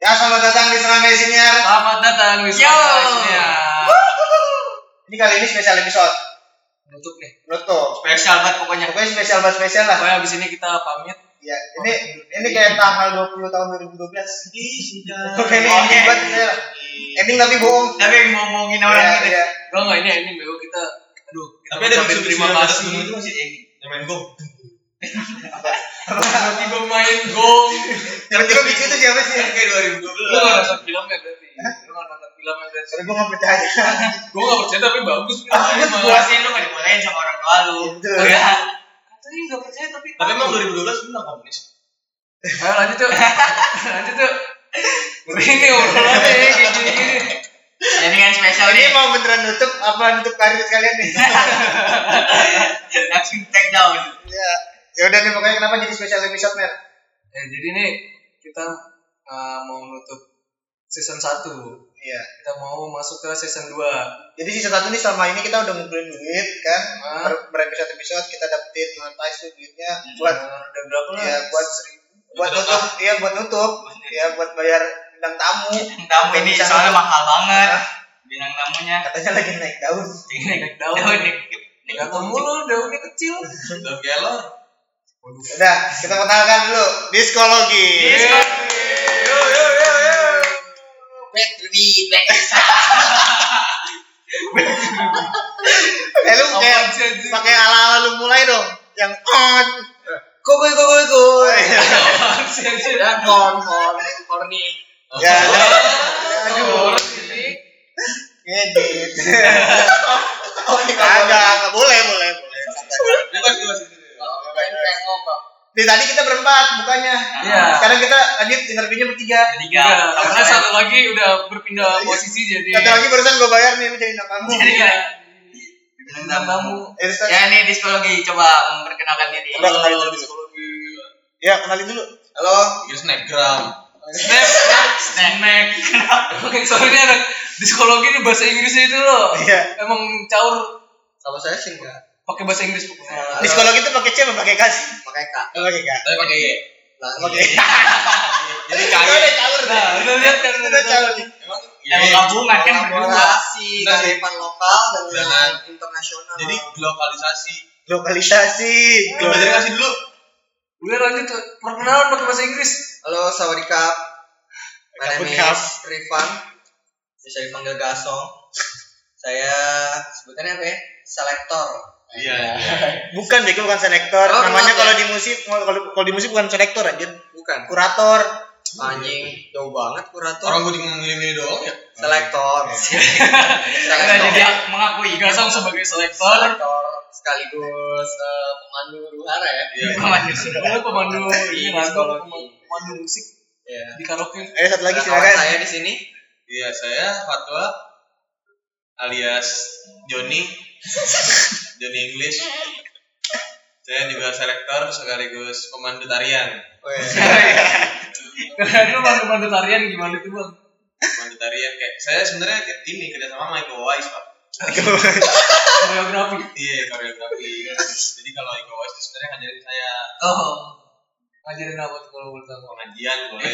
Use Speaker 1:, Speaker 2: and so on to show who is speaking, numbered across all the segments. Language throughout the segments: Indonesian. Speaker 1: Ya selamat datang di Seramai Siniar.
Speaker 2: Selamat datang di
Speaker 3: Yo.
Speaker 2: Spotify-nya.
Speaker 1: Ini kali ini spesial episode
Speaker 2: Nutup nih.
Speaker 1: Ruto.
Speaker 2: Spesial banget pokoknya.
Speaker 1: Pokoknya spesial banget spesial lah.
Speaker 2: Pokoknya abis ini kita pamit.
Speaker 1: Ya, ini ini kayak tanggal 20 tahun 2012.
Speaker 3: Ih, sudah.
Speaker 1: Oke, ini ending banget ini lah. Ending tapi bohong.
Speaker 3: Tapi yang ngomongin orang
Speaker 1: Ya,
Speaker 3: gitu.
Speaker 1: ya.
Speaker 2: Enggak enggak ini ending BO kita. Aduh, kita
Speaker 3: Tapi ada
Speaker 2: ucapin
Speaker 3: lucu-lucu
Speaker 2: terima
Speaker 3: yang ada
Speaker 2: kasih.
Speaker 3: sebelum itu masih gitu. ending. Yang main gong.
Speaker 2: Tiba-tiba main gong.
Speaker 1: Yang tiba bicu itu siapa sih?
Speaker 3: Kayak
Speaker 2: Lu nggak
Speaker 3: 2012.
Speaker 2: nonton filmnya berarti. Lu nggak nonton filmnya berarti.
Speaker 1: Tapi gue nggak percaya.
Speaker 2: Gue nggak percaya tapi bagus.
Speaker 1: Ah,
Speaker 2: Emang.
Speaker 1: gua
Speaker 3: Puasin lu nggak dibolehin sama orang tua lu.
Speaker 1: Betul.
Speaker 3: Ya.
Speaker 2: Iya. Katanya nggak percaya tapi.
Speaker 3: Tapi emang
Speaker 2: bagus.
Speaker 3: 2012 benar komunis.
Speaker 2: Ayo lanjut tuh. lanjut tuh. Ini obrolannya ya kayak gini-gini.
Speaker 3: Jadi kan spesial
Speaker 1: Ini
Speaker 3: ini
Speaker 1: mau beneran nutup apa nutup karir sekalian nih?
Speaker 3: langsung take down.
Speaker 1: ya. Ya udah nih pokoknya kenapa jadi spesial episode Mer?
Speaker 2: Ya, jadi nih kita eh, mau menutup season 1
Speaker 1: Iya.
Speaker 2: kita mau masuk ke season 2
Speaker 1: Jadi season satu nih selama ini kita udah ngumpulin duit kan,
Speaker 2: Ah. Iya.
Speaker 1: Ber- berepisode episode kita dapetin monetize tuh duitnya buat
Speaker 2: udah berapa lah?
Speaker 1: ya buat buat nutup, iya buat nutup, ya buat bayar bintang tamu.
Speaker 3: Tamu ini
Speaker 1: Bisa-
Speaker 3: soalnya mahal banget.
Speaker 1: Hah?
Speaker 3: Bintang tamunya. Oh,
Speaker 1: Katanya lagi naik daun.
Speaker 2: naik daun.
Speaker 3: Daun nih.
Speaker 2: Nih kata mulu daunnya kecil.
Speaker 3: Daun kelor.
Speaker 1: Udah, kita kenalkan dulu diskologi.
Speaker 3: Disko.
Speaker 1: Yo yo yo yo.
Speaker 3: Back to the back.
Speaker 1: Eh lu kayak
Speaker 2: Apaan sih, anjing?
Speaker 1: pakai ala-ala lu mulai dong. Yang on. Kukuy kukuy kuy.
Speaker 2: Apaan sih, anjing?
Speaker 1: Kon kon.
Speaker 2: Horny.
Speaker 1: Ya. udah. Aduh.
Speaker 2: Horny.
Speaker 1: Ngedit. Agak nggak boleh boleh boleh.
Speaker 3: Bebas bebas.
Speaker 1: Di tadi kita berempat bukannya.
Speaker 2: Iya.
Speaker 1: Sekarang kita lanjut interviewnya bertiga.
Speaker 3: Ketiga.
Speaker 2: Tiga. Karena satu lagi udah berpindah posisi jadi.
Speaker 1: Kata Iya. lagi barusan gue bayar nih lu jadi namamu.
Speaker 3: Jadi
Speaker 2: Iya.
Speaker 3: Bintang
Speaker 2: Bintang
Speaker 3: tamu.
Speaker 1: Ya,
Speaker 2: tamu.
Speaker 3: Ya ini diskologi coba memperkenalkan diri.
Speaker 1: Coba kenalin dulu. ya kenalin dulu. Halo.
Speaker 3: Iya snapgram.
Speaker 2: Snap, snap, snack. Oke, soalnya anak psikologi ini bahasa Inggrisnya itu loh.
Speaker 1: Iya.
Speaker 2: Emang caur
Speaker 3: Kalau saya sih enggak. Iya.
Speaker 2: pakai bahasa Inggris pokoknya.
Speaker 1: Diskologi itu pakai C apa pakai K sih?
Speaker 3: Pakai K.
Speaker 1: Oh, Pakai K.
Speaker 3: Tapi pakai Y.
Speaker 1: Pakai K.
Speaker 3: Jadi K.
Speaker 1: Itu udah caur.
Speaker 2: Nah, udah lihat kan
Speaker 1: Udah caur.
Speaker 3: Emang emang gabungan kan berdua.
Speaker 4: kolaborasi
Speaker 3: Benar.
Speaker 4: kearifan lokal
Speaker 3: Benar.
Speaker 4: dengan internasional.
Speaker 3: Jadi globalisasi.
Speaker 1: Lokalisasi.
Speaker 3: Coba jadi kasih dulu.
Speaker 2: Udah lanjut tuh. perkenalan pakai bahasa Inggris.
Speaker 4: halo sawadika. My name
Speaker 1: Kapun kap.
Speaker 4: is Rifan. Bisa dipanggil Gasong. Saya sebutannya apa ya? Selektor.
Speaker 3: Iya.
Speaker 1: Bukan Beko bukan selektor.
Speaker 4: Oh,
Speaker 1: Namanya
Speaker 4: kenapa?
Speaker 1: kalau di musik kalau kalau di musik bukan selektor anjir.
Speaker 4: Bukan.
Speaker 1: Kurator.
Speaker 4: Anjing, jauh banget kurator.
Speaker 3: Orang gue cuma milih-milih doang ya.
Speaker 4: Selektor.
Speaker 2: Nah,
Speaker 4: Selektor.
Speaker 2: jadi mengakui Gasong sebagai selektor,
Speaker 4: Selektor sekaligus eh, pemandu ruhara ya.
Speaker 2: Lu pemandu Iya, ini ngantor, pemandu musik
Speaker 4: Iya.
Speaker 2: di karaoke.
Speaker 1: Eh satu lagi
Speaker 4: Nah, kawan
Speaker 1: silakan.
Speaker 4: saya di sini
Speaker 3: Iya saya Fatwa alias Joni Joni English. Saya juga selektor sekaligus pemandu tarian.
Speaker 2: Kalian lu pemandu-pemandu tarian gimana itu bang?
Speaker 3: Pemandu tarian kayak saya sebenarnya kayak ini kerja sama Michael Wise pak.
Speaker 2: Koreografi.
Speaker 3: Iya koreografi. Jadi kalau Michael Wise itu sebenarnya ngajarin saya
Speaker 2: Oh, ngajarin apa tuh kalau menurut kamu?
Speaker 3: pengajian boleh.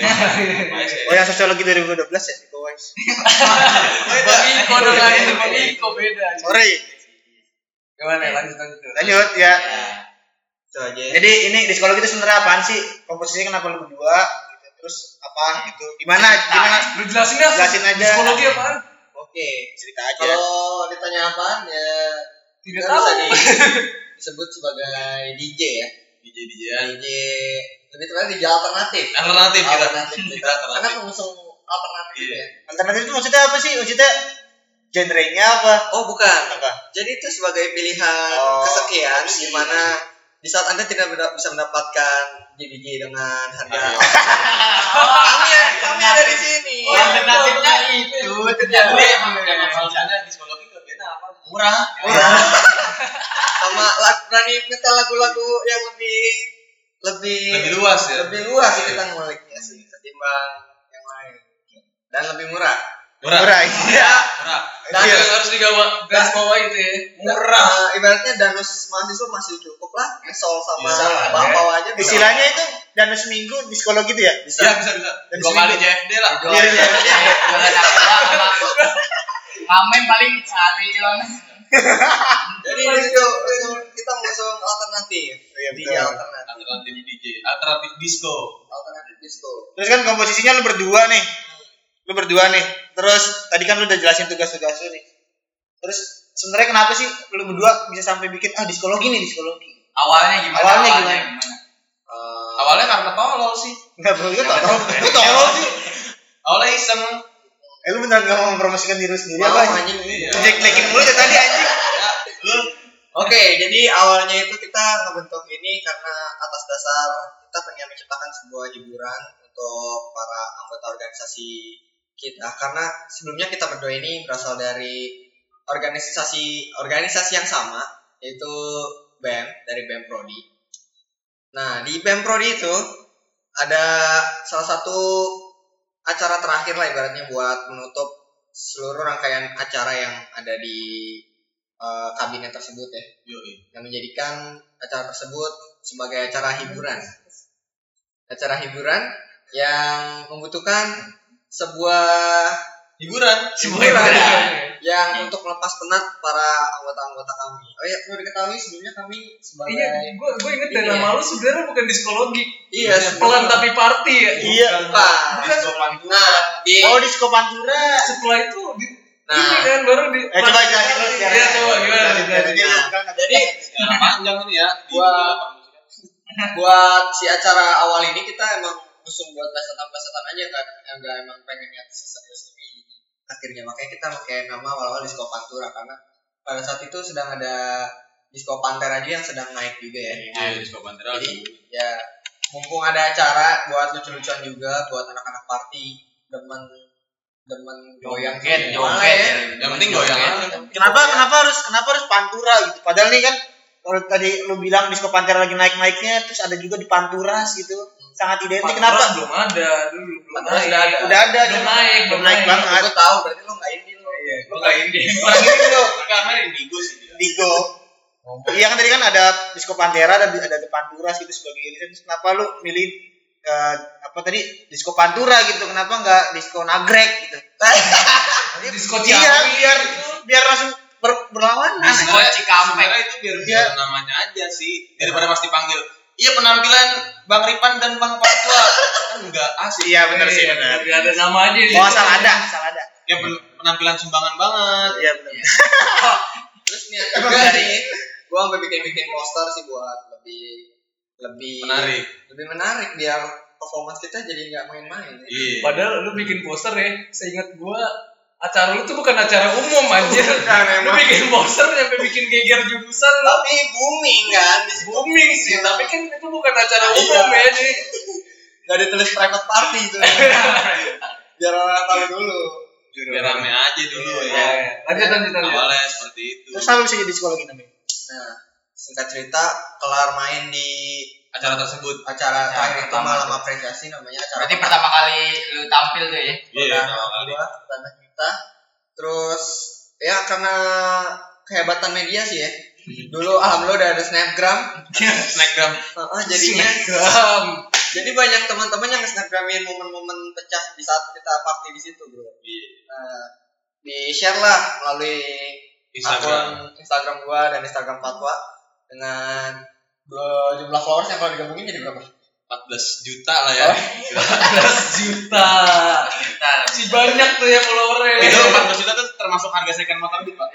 Speaker 1: Oh yang sosiologi 2012 ya di bawah.
Speaker 2: Bang Iko dong lain, Bang Iko beda.
Speaker 1: Sorry.
Speaker 2: Gimana lanjut lanjut.
Speaker 1: Lanjut ya.
Speaker 3: Iya.
Speaker 4: itu aja. ya.
Speaker 1: Jadi ini diskologi itu sebenarnya apaan sih? Komposisinya kenapa lu berdua? Gitu. Terus apa gitu? Gimana? Gimana?
Speaker 2: Lu jelasin dah.
Speaker 1: Jelasin aja.
Speaker 2: Psikologi apaan?
Speaker 4: Oke.
Speaker 1: Cerita aja.
Speaker 4: Kalau ditanya apaan ya
Speaker 2: Tidak
Speaker 4: Kita
Speaker 2: tahu.
Speaker 4: bisa di, disebut sebagai DJ ya.
Speaker 3: DJ DJan.
Speaker 4: DJ lebih tepatnya DJ alternatif.
Speaker 3: Alternatif kita.
Speaker 4: Alternatif
Speaker 3: Kita
Speaker 4: kita. Karena
Speaker 3: alternatif.
Speaker 4: pengusung alternatif
Speaker 3: Iya.
Speaker 4: ya.
Speaker 1: Alternatif itu maksudnya apa sih? Maksudnya genrenya apa?
Speaker 4: Oh bukan.
Speaker 1: Apa?
Speaker 4: Jadi itu sebagai pilihan
Speaker 1: Oh.
Speaker 4: kesekian
Speaker 3: iya.
Speaker 4: di mana di saat anda tidak beda- bisa mendapatkan DJ dengan
Speaker 3: Iya.
Speaker 4: harga. kami kami ada di sini.
Speaker 2: Oh, alternatifnya
Speaker 3: itu ternyata emang kalau sana di sekolah itu beda apa murah
Speaker 4: Sama lagu berani metal lagu-lagu yang lebih lebih
Speaker 3: lebih luas ya
Speaker 4: lebih luas kita nguliknya sih ketimbang yang lain dan lebih murah.
Speaker 3: Murah.
Speaker 1: murah iya
Speaker 3: Murah.
Speaker 2: Dan
Speaker 4: Iya.
Speaker 2: harus digawa garis bawah gitu ya.
Speaker 3: Murah.
Speaker 4: Eh, ibaratnya danus mahasiswa masih cukup lah kesol sama
Speaker 3: Bisa lah,
Speaker 4: bapak
Speaker 3: ya.
Speaker 4: bawah aja bisa.
Speaker 1: istilahnya itu dan seminggu di sekolah gitu ya
Speaker 4: bisa
Speaker 3: Iya bisa bisa.
Speaker 1: Dan
Speaker 3: Dua
Speaker 1: seminggu.
Speaker 3: kali JFD lah.
Speaker 1: Iya, iya, iya.
Speaker 5: Jangan takut lah sama Amin paling sehari doang.
Speaker 4: jadi ini tuh kita mengusung alternatif
Speaker 1: Iya,
Speaker 4: di
Speaker 1: betul.
Speaker 4: alternatif
Speaker 3: Alternatif DJ. Alternatif disco.
Speaker 4: alternatif disco
Speaker 1: terus kan komposisinya lu berdua nih lu berdua nih terus tadi kan lu udah jelasin tugas-tugas lu nih terus sebenarnya kenapa sih lu berdua bisa sampai bikin ah diskologi nih diskologi
Speaker 5: Awalnya gimana?
Speaker 1: Awalnya gimana?
Speaker 4: Eh,
Speaker 3: Awalnya karena tolol sih.
Speaker 1: nggak bro itu tolong itu tolong sih
Speaker 3: Awalnya iseng.
Speaker 1: eh lu beneran nggak mau mempromosikan diri lu sendiri
Speaker 4: malam
Speaker 1: apa
Speaker 4: anjing ini. ya.
Speaker 3: Iya.
Speaker 1: jelek-jelekin mulu dari tadi anjing
Speaker 3: Ya, lu
Speaker 4: Oke, jadi awalnya itu kita ngebentuk ini karena atas dasar kita pengen menciptakan sebuah hiburan untuk para anggota organisasi kita. Karena sebelumnya kita berdua ini berasal dari organisasi organisasi yang sama, yaitu BEM dari BEM Prodi. Nah, di BEM Prodi itu ada salah satu acara terakhir lah ibaratnya buat menutup seluruh rangkaian acara yang ada di eh, kabinet tersebut ya
Speaker 3: Yoi.
Speaker 4: yang menjadikan acara tersebut sebagai acara hiburan. Acara hiburan yang membutuhkan sebuah
Speaker 3: hiburan.
Speaker 4: hiburan yang untuk melepas penat para anggota-anggota kami. Oh iya, perlu diketahui sebelumnya kami sebagai
Speaker 2: Iya, gue gue inget dari
Speaker 4: Iya.
Speaker 2: nama lu sebenarnya bukan diskologi,
Speaker 4: iya,
Speaker 2: pelan
Speaker 4: sebelum-
Speaker 2: tapi party ya.
Speaker 1: iya
Speaker 4: Bukan.
Speaker 3: Disco pantura.
Speaker 4: Nah, di
Speaker 1: oh disco pantura
Speaker 2: Setelah Iya, itu di,
Speaker 4: Nah.
Speaker 2: ini kan baru di.
Speaker 1: eh coba jelasin lu
Speaker 2: Iya coba gimana?
Speaker 4: Nah,
Speaker 1: jadi
Speaker 3: Ya, panjang ini ya.
Speaker 4: Gua- buat si acara awal ini kita emang usung buat pesetan-pesetan aja kan enggak emang pengen yang seserius ini akhirnya makanya kita pakai nama awal-awal disco pantura karena pada saat itu sedang ada disco pantera juga yang sedang naik juga ya
Speaker 3: Iya, disco pantura.
Speaker 4: jadi ya mumpung ada acara buat lucu-lucuan juga buat anak-anak party demen demen goyang
Speaker 5: Joget,
Speaker 4: gimana
Speaker 5: joget.
Speaker 4: ya.
Speaker 3: Yang penting goyang aja.
Speaker 1: kenapa kenapa harus kenapa harus pantura gitu padahal nih kan kalau tadi lu bilang disco pantura lagi naik-naiknya terus ada juga di panturas gitu sangat identik
Speaker 2: Kenapa
Speaker 1: kenapa
Speaker 2: belum ada dulu belum
Speaker 4: Panturas
Speaker 2: ada.
Speaker 4: udah
Speaker 1: udah ada
Speaker 2: Belum
Speaker 1: cuma
Speaker 2: naik, belum
Speaker 1: belum naik
Speaker 2: naik. Eh,
Speaker 1: banget Iya.
Speaker 4: aku tahu berarti lo nggak ini lo
Speaker 2: Iya.
Speaker 3: Lu kayak ini.
Speaker 1: orang ini lo
Speaker 3: Kamera indigo sih dia.
Speaker 1: Digo. Iya kan tadi kan ada Disco Pantera dan ada The Panturas gitu sebagai ini. Terus kenapa lu milih eh, apa tadi Disco Pantura gitu? Kenapa nggak Disco Nagrek gitu?
Speaker 2: Disko
Speaker 1: Iya,
Speaker 2: Ciawi.
Speaker 1: biar biar langsung ber- berlawanan.
Speaker 5: Disko Cikampek.
Speaker 3: Nah, Sebenarnya itu biar
Speaker 1: Iya.
Speaker 3: biar namanya aja sih daripada pasti panggil. Iya penampilan Bang Ripan dan Bang Fatwa kan enggak asik.
Speaker 1: Iya benar sih benar.
Speaker 2: Biar ada nama aja.
Speaker 1: Oh asal ada, asal ada.
Speaker 3: Ya pen- penampilan sumbangan banget.
Speaker 1: Iya benar.
Speaker 4: terus niat juga nih Iya, gua sampai bikin-bikin poster sih buat lebih lebih
Speaker 3: Menarik.
Speaker 4: lebih menarik biar performance kita jadi nggak main-main ya.
Speaker 3: Iya.
Speaker 2: Padahal lu bikin poster ya, seingat gua acara lu tuh bukan acara umum anjir. lu bikin poster sampai bikin geger jurusan lu.
Speaker 4: tapi booming kan di situ
Speaker 2: booming
Speaker 5: Iya.
Speaker 2: sih, tapi kan itu bukan acara umum ya jadi
Speaker 4: nggak ditulis private party itu biar orang tahu dulu
Speaker 3: Biar rame aja dulu
Speaker 2: Iya,
Speaker 3: ya.
Speaker 2: iya. Lanjut lanjut lanjut.
Speaker 3: Awalnya seperti itu.
Speaker 1: Terus apa bisa jadi psikologi namanya?
Speaker 4: nah singkat cerita kelar main di
Speaker 3: Acara tersebut.
Speaker 4: acara
Speaker 5: Ya,
Speaker 4: terakhir itu
Speaker 5: pertama
Speaker 4: malam
Speaker 5: tuh.
Speaker 4: apresiasi namanya acara
Speaker 5: Berarti pertama kali lu tampil tuh ya.
Speaker 3: Iya.
Speaker 4: pertama
Speaker 3: awal-awal.
Speaker 4: gua, pertama kita terus ya karena kehebatan media sih ya dulu alhamdulillah udah ada snapgram
Speaker 3: Snapgram.
Speaker 4: Heeh,
Speaker 3: Iya.
Speaker 4: jadinya
Speaker 2: Snapgram.
Speaker 4: jadi banyak teman-teman yang snapgramin momen-momen pecah di saat kita party di situ bro
Speaker 3: Iya.
Speaker 4: di share lah melalui
Speaker 3: Instagram.
Speaker 4: akun Instagram gua dan Instagram Fatwa dengan dua jumlah followers yang kalau digabungin jadi berapa?
Speaker 3: 14 juta lah ya.
Speaker 2: 14 juta.
Speaker 5: Nah,
Speaker 2: Si banyak tuh ya followernya.
Speaker 3: Itu 14 juta tuh termasuk harga second motor gitu, Pak.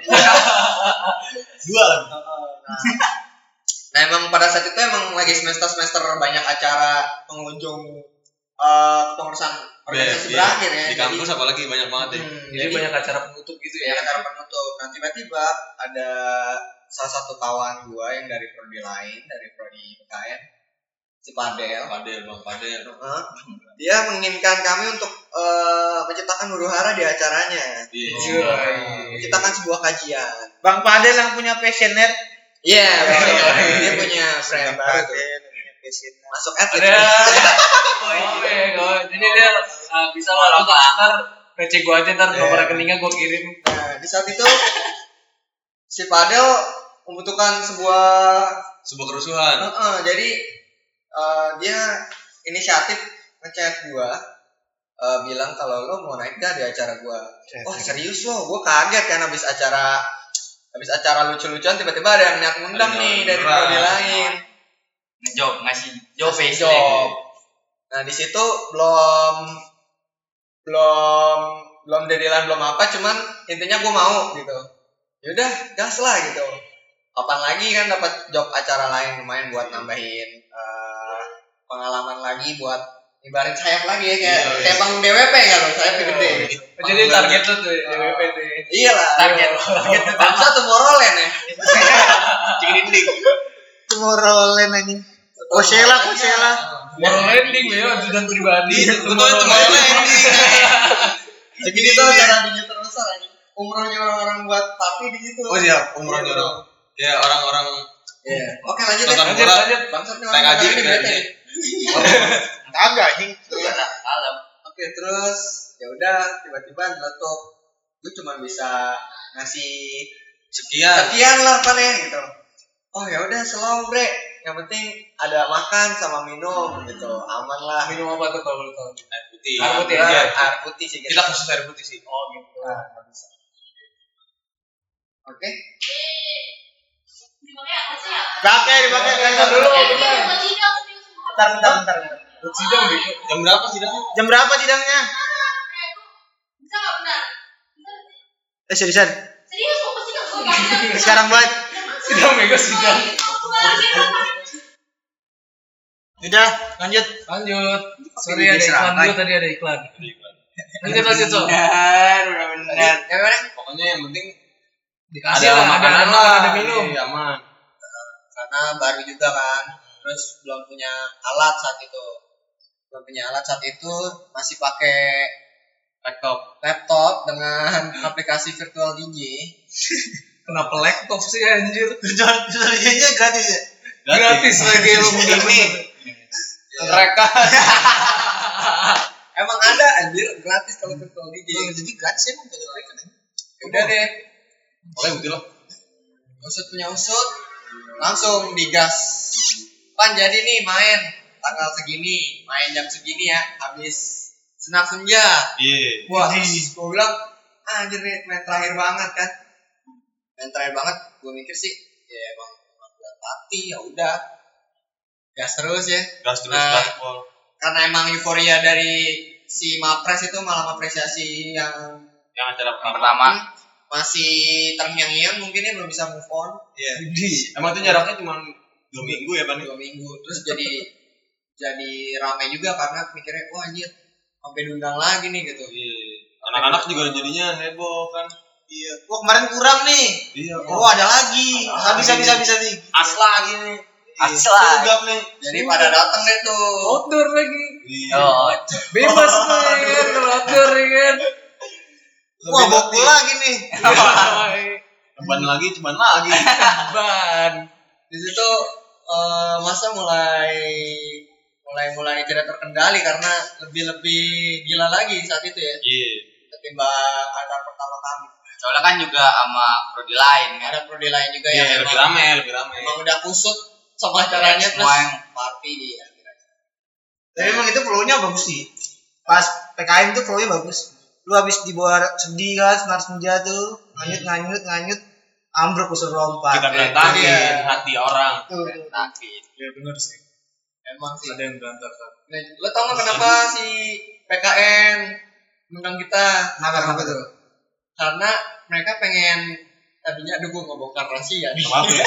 Speaker 3: Dua lah.
Speaker 4: Nah emang pada saat itu emang lagi semester-semester banyak acara pengunjung eh pengurusan organisasi
Speaker 3: Iya, iya.
Speaker 4: berakhir ya.
Speaker 3: Di kampus apalagi banyak banget
Speaker 4: Jadi,
Speaker 3: ya.
Speaker 4: hmm,
Speaker 2: Jadi banyak acara penutup gitu
Speaker 4: gitu
Speaker 2: ya.
Speaker 4: ya acara penutup. Nah tiba-tiba ada salah satu kawan gua yang dari prodi lain dari prodi UKM si Padel.
Speaker 3: Padel, Bang Padel.
Speaker 4: Heeh. dia menginginkan kami untuk eh, menciptakan huru hara di acaranya.
Speaker 3: Iya.
Speaker 2: Iya.
Speaker 4: Menciptakan sebuah kajian.
Speaker 1: Bang Padel yang punya passioner.
Speaker 4: Iya, betul.
Speaker 3: Iya.
Speaker 4: dia punya brand baru. tuh. Masuk
Speaker 5: iya.
Speaker 4: atlet.
Speaker 2: eh, Ada. Oh, iya, kawan. Jadi dia uh, bisa lah antar receh gua aja ntar
Speaker 4: Iya.
Speaker 2: nomor rekeningnya gua kirim
Speaker 4: Nah, di saat itu si Padel membutuhkan sebuah
Speaker 3: sebuah kerusuhan
Speaker 4: Heeh, jadi eh, dia inisiatif ngechat gua eh, bilang kalau lo mau naik gak di acara gua. Wah serius lo, gua kaget kan habis acara habis acara lucu-lucuan tiba-tiba ada yang niat ngundang
Speaker 3: Ada
Speaker 4: nih
Speaker 3: yang
Speaker 4: dari
Speaker 3: ngundang.
Speaker 4: prodi lain.
Speaker 5: Ngejob, ngasih job
Speaker 4: Ngasih
Speaker 5: job.
Speaker 4: job. Nah di situ belum belum belum dedilan belum apa, cuman intinya gue mau gitu. Yaudah gas lah gitu. Kapan lagi kan dapat job acara lain lumayan buat nambahin eh, pengalaman lagi buat ibarat sayap lagi ya kayak
Speaker 3: Iya, iya.
Speaker 4: kayak panggung DWP kan loh sayap gede.
Speaker 5: Iya,
Speaker 2: jadi
Speaker 4: Panggung
Speaker 2: target lu tuh DWP tuh
Speaker 4: Iya lah.
Speaker 5: Target.
Speaker 4: Target bangsa Tomorrowland ya.
Speaker 3: cikin dinding
Speaker 1: Tomorrowland anjing.
Speaker 4: Oh,
Speaker 1: Coachella, Coachella.
Speaker 2: Moral landing ya ajudan pribadi
Speaker 3: gue tuh temennya ending
Speaker 4: Jadi itu acara digital besar aja. Umrohnya orang-orang buat party di situ.
Speaker 3: oh siap umroh jodoh ya orang-orang
Speaker 4: Iya. Oke lanjut ya.
Speaker 3: Nonton
Speaker 2: lanjut
Speaker 3: Bola.
Speaker 2: lanjut
Speaker 4: Bangsat nih
Speaker 3: naik
Speaker 4: orang
Speaker 3: haji
Speaker 4: di
Speaker 3: kan
Speaker 4: BT.
Speaker 1: Kagak anjing.
Speaker 4: Iya.
Speaker 5: Malam.
Speaker 4: Oke terus ya udah tiba-tiba meletup. Gue cuma bisa ngasih
Speaker 3: sekian
Speaker 4: sekian lah paling gitu. Oh ya udah slow bre. Yang penting ada makan sama minum gitu. Aman
Speaker 2: Nah,
Speaker 4: lah.
Speaker 2: minum apa tuh kalau lu tahu
Speaker 3: air putih
Speaker 2: Air putih,
Speaker 3: Iya,
Speaker 2: iya.
Speaker 4: Air putih sih. gitu.
Speaker 3: kita khusus air putih sih
Speaker 2: oh gitu
Speaker 4: Ah, Oke.
Speaker 1: Pakai, dipakai bentar dulu. Bentar, bentar, bentar.
Speaker 2: Buat sidang bego
Speaker 3: jam berapa sidangnya
Speaker 1: Jam berapa tidaknya? Eh seriusan, sekarang buat.
Speaker 2: sidang bego sidang
Speaker 1: Udah, lanjut.
Speaker 2: lanjut sorry ada iklan dulu tadi ada iklan lanjut lanjut so
Speaker 4: Iya. Benar, benar. Ya benar.
Speaker 3: pokoknya yang penting
Speaker 2: dikasih lah ada makanan ada minum
Speaker 3: Iya, aman
Speaker 4: karena baru juga kan terus belum punya alat saat itu belum punya alat saat itu masih pakai
Speaker 3: laptop
Speaker 4: laptop dengan aplikasi virtual DJ
Speaker 2: kenapa laptop sih anjir
Speaker 1: Tutorialnya gratis ya.
Speaker 2: gratis lagi lu ini
Speaker 4: mereka emang ada anjir gratis kalau virtual DJ jadi gratis emang punya mereka udah deh
Speaker 3: pokoknya betul lah
Speaker 4: usut punya usut langsung digas pan jadi nih main tanggal segini main jam segini ya habis senap senja
Speaker 3: iya
Speaker 4: Wah, terus gue bilang, anjir nih main terakhir banget kan. Main terakhir banget, gue mikir sih, ya emang emang udah mati, ya udah. Gas terus ya.
Speaker 3: gas terus
Speaker 4: Nah.
Speaker 3: gaspol
Speaker 4: Karena emang euforia dari si Mapres itu malam apresiasi yang Hmm,
Speaker 3: yang acara pertama
Speaker 5: Pertama,
Speaker 4: masih terngiang-ngiang mungkin ya belum bisa move on
Speaker 3: iya emang tuh jaraknya cuma dua minggu ya pan
Speaker 4: dua minggu terus jadi jadi ramai juga karena mikirnya wah anjir sampai diundang lagi nih gitu
Speaker 3: Iya. anak-anak juga jadinya heboh kan
Speaker 1: Iya. Wah kemarin kurang nih.
Speaker 3: iya
Speaker 1: Oh ada lagi. Habis habis habis habis.
Speaker 3: asla gini
Speaker 5: Asla.
Speaker 3: Gagap nih
Speaker 4: jadi pada
Speaker 5: Hmm.
Speaker 4: datang deh tuh
Speaker 2: outdoor lagi
Speaker 3: Iya.
Speaker 5: oh,
Speaker 2: bebas tuh ya kan kalau outdoor ya kan
Speaker 1: Wah bokul lagi nih.
Speaker 3: Beban lagi cuman lagi.
Speaker 2: ban
Speaker 4: di situ eh, masa mulai mulai mulai tidak terkendali karena lebih lebih gila lagi saat itu ya
Speaker 3: Iya.
Speaker 4: ketimbang acara pertama kami
Speaker 5: soalnya kan juga sama prodi lain kan.
Speaker 4: ada prodi lain juga
Speaker 3: Iya,
Speaker 4: yang
Speaker 3: lebih
Speaker 4: emang,
Speaker 3: rame, lebih rame.
Speaker 4: emang udah kusut sama acaranya
Speaker 5: Iya, Semua
Speaker 4: plus
Speaker 5: yang-
Speaker 4: party di akhir
Speaker 1: Tapi emang itu flow-nya bagus sih. Pas PKM tuh flow-nya bagus. Lu habis dibawa sedih kan, senar senja tuh, nganyut nganyut nganyut, ambruk usul
Speaker 3: Kita
Speaker 1: lompat.
Speaker 3: berantakin
Speaker 4: iya.
Speaker 3: hati orang.
Speaker 1: Tuh.
Speaker 5: Sakit.
Speaker 2: ya benar sih
Speaker 4: emang sih
Speaker 2: ada yang berantakan
Speaker 4: Nah, lo tau gak kenapa si PKN undang kita
Speaker 1: Kenapa kenapa tuh?
Speaker 4: karena mereka pengen tadinya aduh gue ngebongkar rahasia nih
Speaker 3: Maaf ya.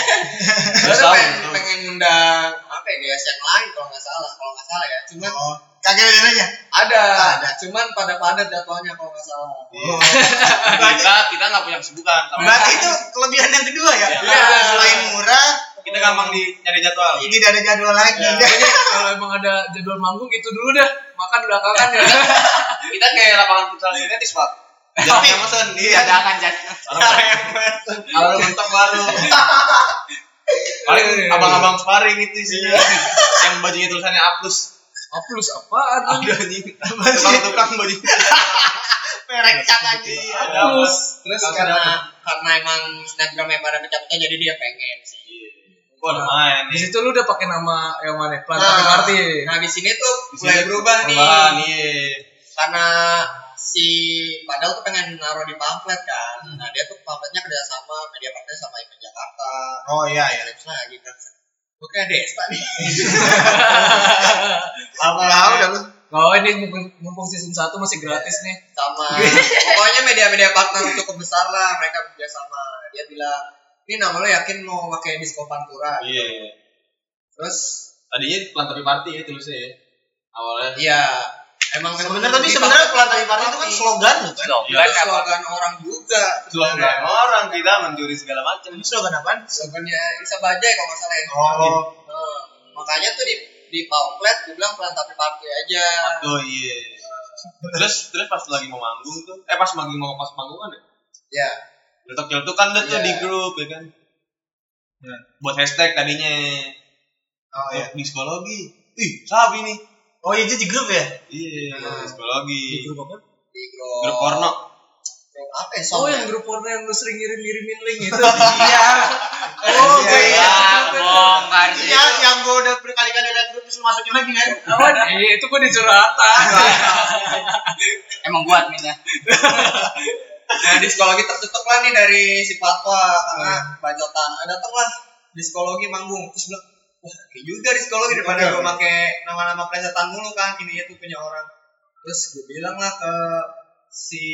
Speaker 3: Terus
Speaker 4: Karena
Speaker 3: tahu,
Speaker 4: pengen,
Speaker 3: tahu.
Speaker 4: pengen undang apa ya guys yang lain kalau nggak salah kalau nggak salah ya cuman
Speaker 1: Oh, kagak ada aja.
Speaker 4: ada
Speaker 1: Ada.
Speaker 4: cuman pada padat jadwalnya kalau nggak salah
Speaker 3: Iya.
Speaker 1: Berarti,
Speaker 3: Kita kita nggak punya kesibukan sama.
Speaker 1: berarti itu kelebihan yang kedua ya.
Speaker 3: Iya.
Speaker 1: Iya, selain murah,
Speaker 3: Kita gampang di nyari jadwal.
Speaker 1: ini tidak ada jadwal lagi.
Speaker 2: jadi kalau emang ada jadwal manggung itu dulu dah makan belakangan ya
Speaker 3: Kita kayak lapangan futsal sintetis, Pak. Jangan yang mesen. Iya.
Speaker 5: Ada kan jadi.
Speaker 3: Kalau mentok baru. Paling
Speaker 2: Iya.
Speaker 3: abang-abang sparring itu isinya. yang bajunya tulisannya aplus.
Speaker 2: Aplus Oh, apaan?
Speaker 3: Ada anjing. Tukang-tukang baju.
Speaker 1: P
Speaker 4: merek cat lagi.
Speaker 3: Iya,
Speaker 2: terus terus karena
Speaker 4: gitu. Karena karena emang snapgramnya pada pecah-pecah jadi dia pengen sih.
Speaker 3: Gua udah main
Speaker 2: di
Speaker 3: nih.
Speaker 2: situ lu udah pakai nama yang mana Plan
Speaker 4: Nah.
Speaker 2: tapi Martin
Speaker 4: Nah di sini tuh
Speaker 3: Di sini
Speaker 4: mulai berubah nih.
Speaker 3: perubahan, iya.
Speaker 4: Karena si padahal tuh pengen naruh di pamflet kan.
Speaker 1: Hmm.
Speaker 4: Nah dia tuh pamfletnya kerjasama media partner sama Ibu Jakarta.
Speaker 1: Oh iya
Speaker 4: Kayak Lips lagi kan. Gue kayak Desta nih.
Speaker 1: Tahu dah lu.
Speaker 2: oh ini mumpung, mumpung season 1 masih gratis nih
Speaker 4: sama pokoknya media-media partner cukup besar lah mereka kerja sama dia bilang ini nama lo yakin mau pakai disco pantura
Speaker 3: Iya.
Speaker 4: terus
Speaker 3: Tadinya pelan tapi party ya tulisnya ya. Awalnya.
Speaker 4: ya emang
Speaker 1: Sebenarnya tapi sebenarnya pelantai partai itu kan slogan lu
Speaker 2: Oh,
Speaker 1: kan.
Speaker 3: Iya.
Speaker 4: slogan slogan orang juga
Speaker 3: Slogan orang kita mencuri segala macam.
Speaker 1: Ini slogan apaan?
Speaker 4: slogannya bisa baja ya kalau nggak salah ya
Speaker 1: Oh,
Speaker 4: Nah, makanya tuh di di pamflet gue bilang pelan tapi partai aja
Speaker 3: Oh iya. Terus terus pas lagi mau manggung tuh, eh pas manggung mau pas manggung kan ya?
Speaker 4: ya
Speaker 3: Letak letuk kan tuh
Speaker 4: Iya.
Speaker 3: di grup ya kan. Nah, buat hashtag tadinya.
Speaker 1: oh iya.
Speaker 3: Di psikologi. Ih, sabi nih.
Speaker 1: Oh iya itu di grup ya?
Speaker 3: Iya,
Speaker 4: Nah.
Speaker 3: psikologi.
Speaker 2: grup apa
Speaker 4: di grup
Speaker 3: Grup porno.
Speaker 4: grup apa ya
Speaker 2: oh
Speaker 4: Song ya?
Speaker 2: yang grup porno yang lu sering ngirim-ngirimin link itu
Speaker 1: Iya. Oh
Speaker 2: Iya,
Speaker 1: kayak
Speaker 2: iya.
Speaker 4: bongkar
Speaker 1: Itu ya yang gue udah berkali-kali liat grup terus masukin lagi kan?
Speaker 2: Awan, eh, itu gue di curhatan.
Speaker 4: Emang gua adminnya. nah, diskologi tertutup lah nih dari si Fatwa karena bacotan. Ada datanglah diskologi manggung. Terus bilang, wah, ini juga diskologi daripada
Speaker 1: Iya,
Speaker 4: gua
Speaker 1: iya.
Speaker 4: make nama-nama plesetan mulu kan, ini itu punya orang. Terus gue bilang lah ke si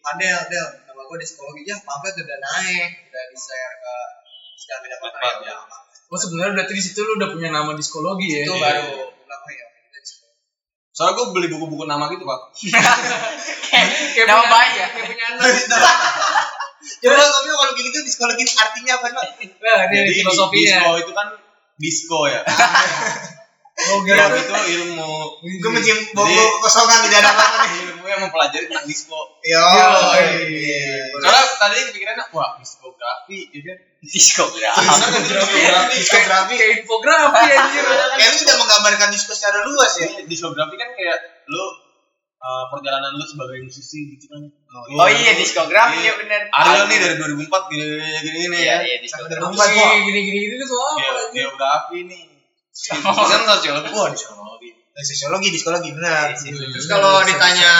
Speaker 4: Adel, Del, nama gua diskologi ya, pamflet udah naik, udah di-share ke sudah media partner
Speaker 3: Fatwa.
Speaker 4: ya. udah.
Speaker 2: Oh sebenarnya berarti di situ lu udah punya nama diskologi ya.
Speaker 4: Itu
Speaker 3: Iya.
Speaker 4: baru gua bilang, oh ya,
Speaker 3: Soalnya gue beli buku-buku nama gitu, Pak.
Speaker 2: Kayak
Speaker 4: Nama
Speaker 2: punya-
Speaker 4: baik ya?
Speaker 2: Kayak punya
Speaker 1: Iya,
Speaker 2: anak.
Speaker 1: Coba tapi kalau kayak gitu diskologi artinya apa? Pak?
Speaker 2: Nah,
Speaker 3: Jadi
Speaker 2: ini
Speaker 3: di-
Speaker 2: filosofinya.
Speaker 3: disco itu kan disco ya.
Speaker 2: Oh
Speaker 1: Iya.
Speaker 2: gitu.
Speaker 3: Grab itu ilmu
Speaker 2: Iya.
Speaker 3: Kan
Speaker 1: Gue mencium bau kosongan di dada banget nih.
Speaker 3: ilmu yang mempelajari tentang disco.
Speaker 1: Yo. Iya,
Speaker 3: Soalnya tadi pikirannya wah diskografi, ya kan? Diskografi.
Speaker 1: Karena kan diskografi, diskografi.
Speaker 2: Kayak infografi ya anjir.
Speaker 1: Kayaknya udah menggambarkan disco secara luas ya.
Speaker 3: Jadi diskografi Gitu. kan kayak lu uh, perjalanan lu sebagai musisi gitu kan.
Speaker 6: Oh iya diskografi ya benar.
Speaker 3: Ariel nih dari 2004 gini gini gini, gini
Speaker 6: Iya
Speaker 3: ya.
Speaker 6: iya diskografi.
Speaker 2: Apa sih gini gini gini tuh apa?
Speaker 3: Ge-
Speaker 2: anjir?
Speaker 3: Geografi nih. Kan sosiologi. Wah, sosiologi.
Speaker 1: Sosiologi, diskologi benar.
Speaker 4: Terus kalau ditanya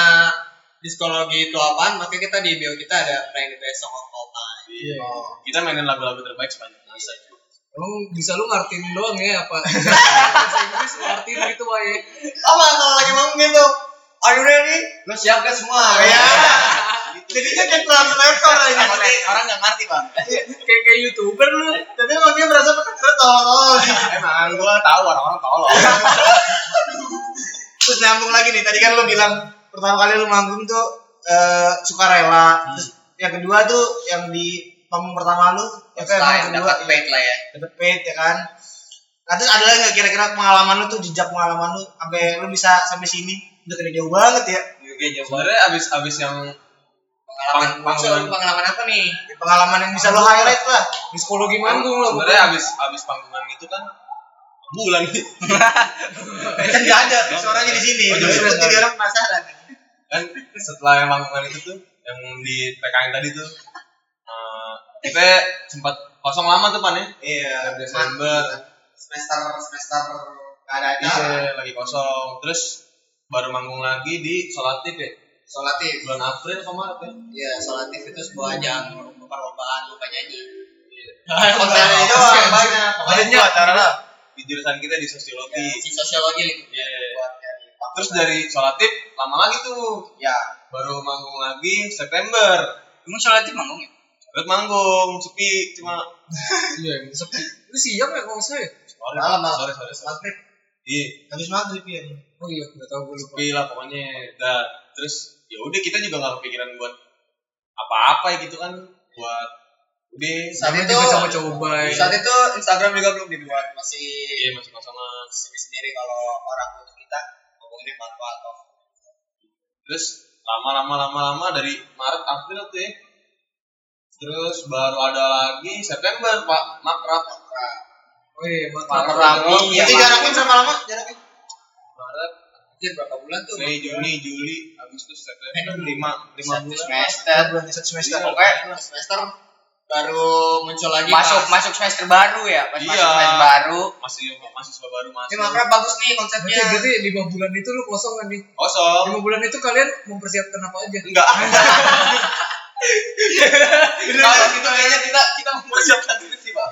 Speaker 4: diskologi itu apaan, maka kita di bio kita ada playing the best song of all time.
Speaker 3: Iya. Kita mainin lagu-lagu terbaik sepanjang masa.
Speaker 2: Emang bisa lu ngartiin doang ya apa? Bahasa Inggris lu ngartiin gitu wae.
Speaker 4: Apa kalau lagi manggung tuh? Are you ready? Lo siap gak semua?
Speaker 2: Nah,
Speaker 1: Ya.
Speaker 2: iya.
Speaker 1: Jadinya kayak translator
Speaker 4: Iya,
Speaker 1: aja.
Speaker 4: Orang gak ngerti bang.
Speaker 2: Kayak kayak youtuber lu.
Speaker 1: Tapi emang dia merasa Oh, iya. pekerja tolol.
Speaker 3: Emang gua tahu orang-orang tolol.
Speaker 1: Terus nyambung lagi nih. Tadi kan lu bilang pertama kali lu manggung tuh eh, sukarela. Terus yang kedua tuh yang di panggung pertama lu, ya kan yang kedua
Speaker 4: Dapat paid lah ya.
Speaker 1: dapet paid ya kan. Nah, terus ada lagi nggak kira-kira pengalaman lu tuh jejak pengalaman lu sampai lu bisa sampai sini udah kena jauh banget ya
Speaker 3: Sebenarnya abis abis yang
Speaker 4: Pengalaman
Speaker 3: Pang- panggung.
Speaker 4: muncul, pengalaman apa nih?
Speaker 1: Ya, pengalaman yang bisa lu highlight lah
Speaker 2: Psikologi manggung lu.
Speaker 3: sebenarnya abis abis panggungan itu kan bulan
Speaker 1: kan nggak ada suaranya di sini
Speaker 3: Oh,
Speaker 1: terus
Speaker 3: iya, iya.
Speaker 1: jadi orang penasaran
Speaker 3: kan setelah yang panggungan itu tuh yang di PKN tadi tuh eh, kita sempat kosong lama tuh pan ya
Speaker 1: iya
Speaker 3: Dari Desember
Speaker 1: semester semester nggak ada
Speaker 3: iya, lagi kosong terus baru manggung lagi di Solatif ya
Speaker 4: Solatif.
Speaker 3: bulan April kemarin ya
Speaker 4: Iya, solatif itu sebuah ajang perlombaan lupa nyanyi.
Speaker 2: Nah, iya.
Speaker 1: kontennya doang banyak
Speaker 3: banyak acara lah di jurusan kita di sosiologi
Speaker 4: Si sosiologi
Speaker 3: Iya.
Speaker 4: buat nyari panggung.
Speaker 3: terus dari Solatif lama lagi tuh
Speaker 4: Ya.
Speaker 3: baru manggung lagi September
Speaker 6: Emang sholat itu manggung ya?
Speaker 3: terus manggung sepi cuma
Speaker 2: Iya, yang sepi. Lu siang ya kalau nggak salah ya?
Speaker 3: Sorry,
Speaker 1: Malam, malam.
Speaker 3: sorry, sorry, sorry. Iya,
Speaker 1: habis maghrib ya
Speaker 2: Oh iya, enggak tahu gue lupa.
Speaker 3: sepi lah pokoknya. Nah, terus ya udah kita juga nggak kepikiran buat apa-apa ya gitu kan buat udah
Speaker 4: Saat
Speaker 2: Namanya
Speaker 4: itu-
Speaker 2: juga coba-coba ya.
Speaker 4: Saat itu Instagram juga belum dibuat, masih
Speaker 3: iya masih kosongan.
Speaker 4: sendiri sendiri kalau orang butuh kita ngomongin fatwa atau
Speaker 3: Terus lama-lama lama-lama dari Maret April tuh ya. Terus baru ada lagi September Pak Makrab.
Speaker 2: Oh iya, buat
Speaker 3: Makrab
Speaker 2: makrab.
Speaker 3: Makrab.
Speaker 1: Iya, itu jaraknya berapa lama jaraknya
Speaker 3: Maret,
Speaker 2: Iya.
Speaker 4: Anjir berapa bulan tuh
Speaker 3: Mei, Juni, Juli, Agustus September Eh, lima lima
Speaker 4: Satu
Speaker 3: bulan
Speaker 4: semester
Speaker 1: bulan satu semester
Speaker 3: Iya.
Speaker 4: pokoknya semester baru muncul lagi
Speaker 7: masuk
Speaker 4: pas.
Speaker 7: masuk semester baru ya pas masuk
Speaker 3: Iya.
Speaker 7: semester baru
Speaker 3: masih mahasiswa baru
Speaker 4: ini
Speaker 3: masuk
Speaker 4: makanya bagus nih
Speaker 2: Berarti,
Speaker 4: konsepnya
Speaker 2: berarti lima bulan itu lu kosong kan nih?
Speaker 3: kosong
Speaker 2: Lima bulan itu kalian mempersiapkan apa aja?
Speaker 3: enggak
Speaker 4: kalau gitu kayaknya kita kita mempersiapkan diri sih pak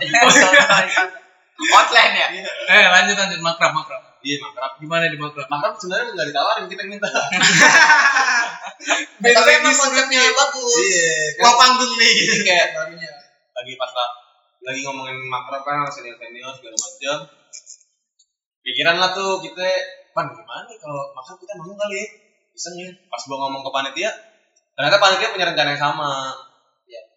Speaker 7: outline ya
Speaker 4: Iya.
Speaker 2: Eh lanjut lanjut makrab makrab.
Speaker 3: iya makrab
Speaker 2: Gimana di makrab?
Speaker 3: makrab sebenarnya nggak ditawarin kita yang minta
Speaker 2: Band
Speaker 4: tapi emang
Speaker 2: ladies
Speaker 4: konsepnya bagus
Speaker 3: iya
Speaker 4: mau panggung nih gitu kayak
Speaker 3: lagi pas la- lagi ngomongin makrab kan senior senior segala macam pikiran lah tuh kita pan gimana nih kalau makrab kita mau kali ya iseng ya pas gua ngomong ke panitia ternyata panitia punya rencana yang sama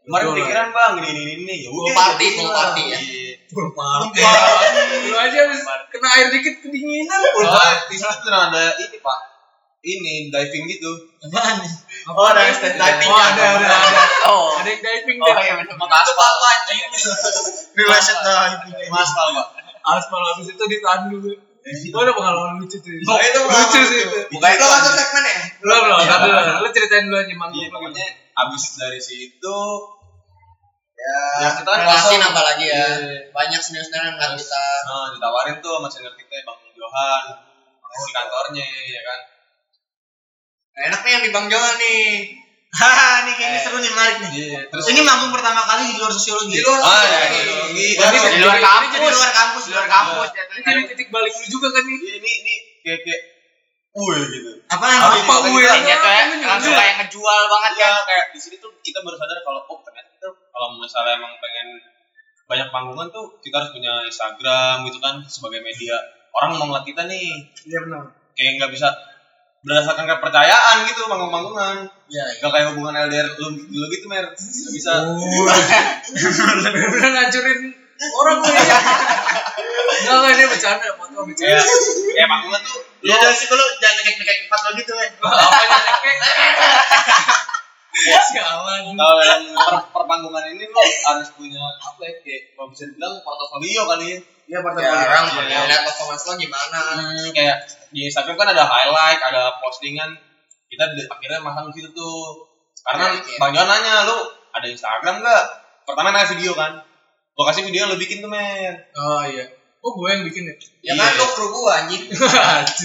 Speaker 3: kemarin
Speaker 2: betul.
Speaker 3: pikiran bang ini ini ini ya
Speaker 4: Ya, full
Speaker 3: udah
Speaker 4: party full party ya
Speaker 3: Iya.
Speaker 2: lu aja habis kena air dikit kedinginan.
Speaker 3: Soalnya di sana tuh ada ini pak ini diving gitu
Speaker 4: oh ada stand diving kan?
Speaker 2: Oh ada ada ada.
Speaker 7: oh
Speaker 2: Ada yang diving
Speaker 7: oh
Speaker 2: deh.
Speaker 7: iya benar
Speaker 4: itu apa anjing
Speaker 1: relaset lah
Speaker 3: masalah pak
Speaker 2: Aspal habis itu ditahan dulu. Itu ada pengalaman lucu tuh.
Speaker 4: Oh, itu
Speaker 2: Lucu sih itu.
Speaker 3: bukan
Speaker 4: itu langsung segmen ya
Speaker 2: Belum belum. belum. Lu ceritain dulu aja mang.
Speaker 3: Iya, pokoknya abis dari situ
Speaker 4: ya
Speaker 3: kita kan
Speaker 4: relasi
Speaker 3: kosong.
Speaker 4: nambah lagi ya
Speaker 3: Iya.
Speaker 4: banyak senior-senior yang nggak kita
Speaker 3: Nah, ditawarin tuh sama senior kita Bang Johan mau di kantornya ya kan.
Speaker 4: Nah, enak nih yang di Bang Johan nih Eh.
Speaker 1: hahaha ini kayaknya seru nih menarik nih
Speaker 3: Iya, terus
Speaker 1: ini manggung pertama kali di luar sosiologi Oh,
Speaker 4: di luar
Speaker 3: Ah,
Speaker 4: sana
Speaker 1: Iya,
Speaker 3: ya,
Speaker 4: nih.
Speaker 3: ini
Speaker 4: Baru-
Speaker 7: di luar
Speaker 1: Ini jadi
Speaker 7: kampus
Speaker 1: luar kampus
Speaker 7: di
Speaker 4: Iya.
Speaker 7: luar kampus ya
Speaker 2: Ini Jadi titik balik lu juga kan nih.
Speaker 3: ini ini, ini kayak kayak wih gitu.
Speaker 1: apa
Speaker 2: Apa gue?
Speaker 7: Intinya tuh ya, langsung kayak ngejual banget
Speaker 3: Iya,
Speaker 7: kan
Speaker 3: kayak di sini tuh kita baru sadar kalau oh ternyata tuh kalau misalnya emang pengen banyak panggungan tuh kita harus punya Instagram gitu kan sebagai media. Orang mau ngeliat kita nih
Speaker 1: iya benar
Speaker 3: kayak nggak bisa berdasarkan kepercayaan gitu panggung-panggungan.
Speaker 4: Iya, iya.
Speaker 3: Gak kayak hubungan LDR lu, lu gitu mer. Nggak bisa.
Speaker 2: Oh. Beneran ngancurin orang gue. Enggak enggak dia bercanda, foto bercanda.
Speaker 4: Iya.
Speaker 3: Kayak kayak panggungan tuh
Speaker 1: ya dari situ lu jangan ngekek-ngekek empat lo gitu eh
Speaker 2: Apanya kayak sialan.
Speaker 3: kalau dalam per perpanggungan ini lo harus punya apa ya kayak kalau bisa dibilang portofolio kali ya
Speaker 1: iya
Speaker 4: ya orang
Speaker 3: Iya.
Speaker 4: punya lihat performance lo gimana
Speaker 3: Hmm, kayak di Instagram kan ada highlight ada postingan kita di- akhirnya masang di situ tuh karena
Speaker 4: Iya, iya.
Speaker 3: bang Johan nanya lu ada Instagram nggak pertama nanya video kan gua kasih video lu bikin tuh men
Speaker 2: Oh iya. Oh gue yang bikin ya.
Speaker 4: ya
Speaker 3: Iya.
Speaker 4: kan lo kru gua anjing
Speaker 2: Iya.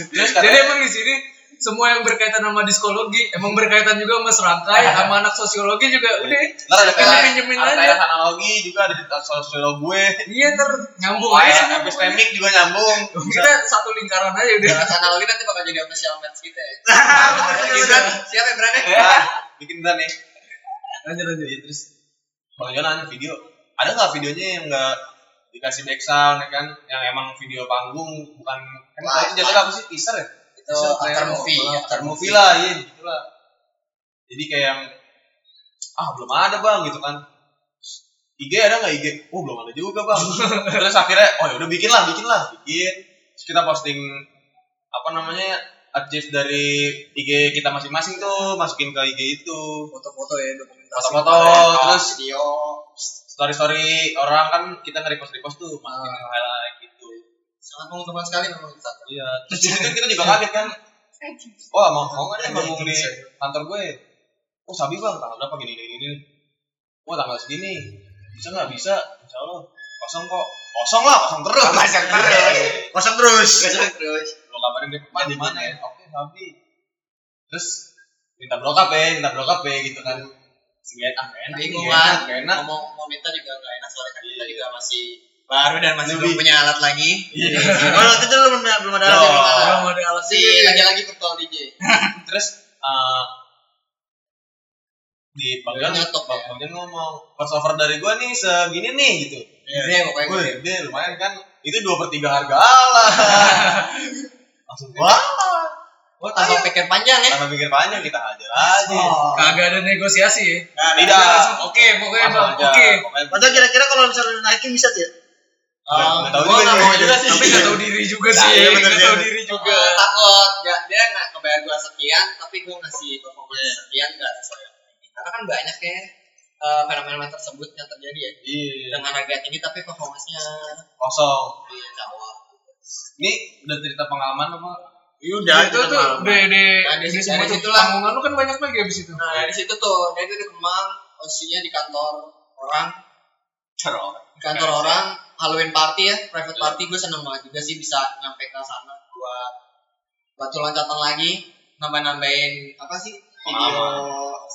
Speaker 3: terus
Speaker 2: Jadi
Speaker 3: katanya
Speaker 2: emang di sini semua yang berkaitan sama diskologi emang berkaitan juga sama serangkai sama anak sosiologi juga udah
Speaker 3: Iya. ntar ada
Speaker 2: kita
Speaker 3: kayak ya?
Speaker 2: pinjemin
Speaker 3: ada
Speaker 2: aja
Speaker 3: kayak
Speaker 4: Iya.
Speaker 3: analogi juga ada di sosial gue
Speaker 2: iya ntar nyambung aja
Speaker 4: iya.
Speaker 3: kayak
Speaker 2: semua pokoknya.
Speaker 3: epistemic juga nyambung
Speaker 2: kita satu lingkaran aja udah
Speaker 3: Iya.
Speaker 4: Jangan sana lagi nanti bakal jadi official match kita ya.
Speaker 1: Iya,
Speaker 4: Siapa yang berani?
Speaker 3: Ah, bikin bener nih
Speaker 2: lanjut lanjut
Speaker 3: Iya, terus Bang Johan nanya kan video ada nggak videonya yang nggak dikasih background ya kan yang emang video panggung bukan kan
Speaker 4: Wah,
Speaker 3: kalau itu jatuhnya apa sih teaser ya
Speaker 4: Itu after movie,
Speaker 3: after
Speaker 4: after
Speaker 3: movie lah iya gitu lah jadi kayak yang ah belum ada bang gitu kan IG ada nggak IG oh belum ada juga bang terus akhirnya oh ya udah bikin lah bikin lah bikin terus kita posting apa namanya adjust dari IG kita masing-masing tuh masukin ke IG itu
Speaker 2: foto-foto ya dokumentasi
Speaker 3: foto-foto
Speaker 4: Ada
Speaker 3: terus
Speaker 4: video.
Speaker 3: ya, story-story orang kan kita nge-repost-repost tuh masukin ke highlight gitu
Speaker 4: Sangat menguntungkan sekali memang kita.
Speaker 3: iya terus itu kan kita juga kaget kan wah mau mau nggak nih manggung di kantor gue oh sabi bang tanggal berapa gini gini gini wah tanggal segini bisa nggak bisa insya Allah kosong kok kosong lah kosong terus
Speaker 7: Kosong terus.
Speaker 1: kosong terus
Speaker 4: Terus
Speaker 3: lo kabarin deh Pak, di mana ya oke sabi terus minta blokap ya minta blokap ya gitu kan Ngeliat ah nggak enak
Speaker 4: bingung
Speaker 3: nggak enak,
Speaker 4: kan?
Speaker 3: nggak enak
Speaker 4: Ngomong mau minta juga nggak enak soalnya kan kita juga masih baru dan masih
Speaker 3: Lebih.
Speaker 4: belum punya alat lagi.
Speaker 3: Iya.
Speaker 1: oh waktu itu lu belum belum ada
Speaker 3: Belum.
Speaker 1: belum ada.
Speaker 2: Belum ada alat
Speaker 4: Si
Speaker 2: sendiri.
Speaker 4: lagi-lagi virtual DJ.
Speaker 3: terus eh di bagian
Speaker 4: Nyotok, ya.
Speaker 3: bagian ngomong cost over dari gua nih segini nih gitu
Speaker 4: Gede pokoknya
Speaker 3: gue
Speaker 4: gede.
Speaker 3: gede lumayan kan itu dua per tiga harga Allah langsung wah
Speaker 4: Gua tanpa pikir panjang ya.
Speaker 3: tanpa pikir panjang kita hajar aja
Speaker 2: kagak ada negosiasi ya
Speaker 3: nah,
Speaker 2: Kita
Speaker 3: tidak
Speaker 2: Oh. langsung oke pokoknya
Speaker 3: Langsung
Speaker 2: bang
Speaker 3: aja.
Speaker 2: oke
Speaker 3: Pokoknya-
Speaker 1: Padahal kira-kira kalau misalnya lu naikin bisa tuh ya?
Speaker 3: Nggak- nggak tahu
Speaker 4: gua
Speaker 3: juga
Speaker 4: nggak
Speaker 3: nih.
Speaker 4: mau juga sih.
Speaker 2: tapi nggak tahu diri juga
Speaker 3: Nah,
Speaker 2: sih
Speaker 3: iya bener,
Speaker 2: nggak
Speaker 3: iya
Speaker 2: tahu
Speaker 3: bener.
Speaker 2: diri juga
Speaker 4: Gua takut ya, dia nggak ngebayar gua sekian tapi gua ngasih performance sekian nggak sesuai karena kan banyak ya eh, fenomena tersebut yang terjadi ya
Speaker 3: iya
Speaker 4: dengan harga tinggi tapi performanya
Speaker 3: kosong
Speaker 4: di bawah
Speaker 3: ini udah cerita pengalaman apa Iya udah,
Speaker 2: Nah, itu
Speaker 3: kita
Speaker 2: tuh
Speaker 3: pengalaman.
Speaker 2: BD
Speaker 4: Nah, di-
Speaker 2: di
Speaker 4: dari
Speaker 2: semua tuh
Speaker 4: situlah.
Speaker 2: panggungan lu kan banyak lagi abis itu.
Speaker 4: Nah dari situ tuh dia itu di Kemang, posisinya di kantor orang,
Speaker 3: Cara orang.
Speaker 4: di kantor orang Halloween party ya, private party gue seneng banget juga sih bisa nyampe ke sana buat batu loncatan lagi, nambah-nambahin apa sih video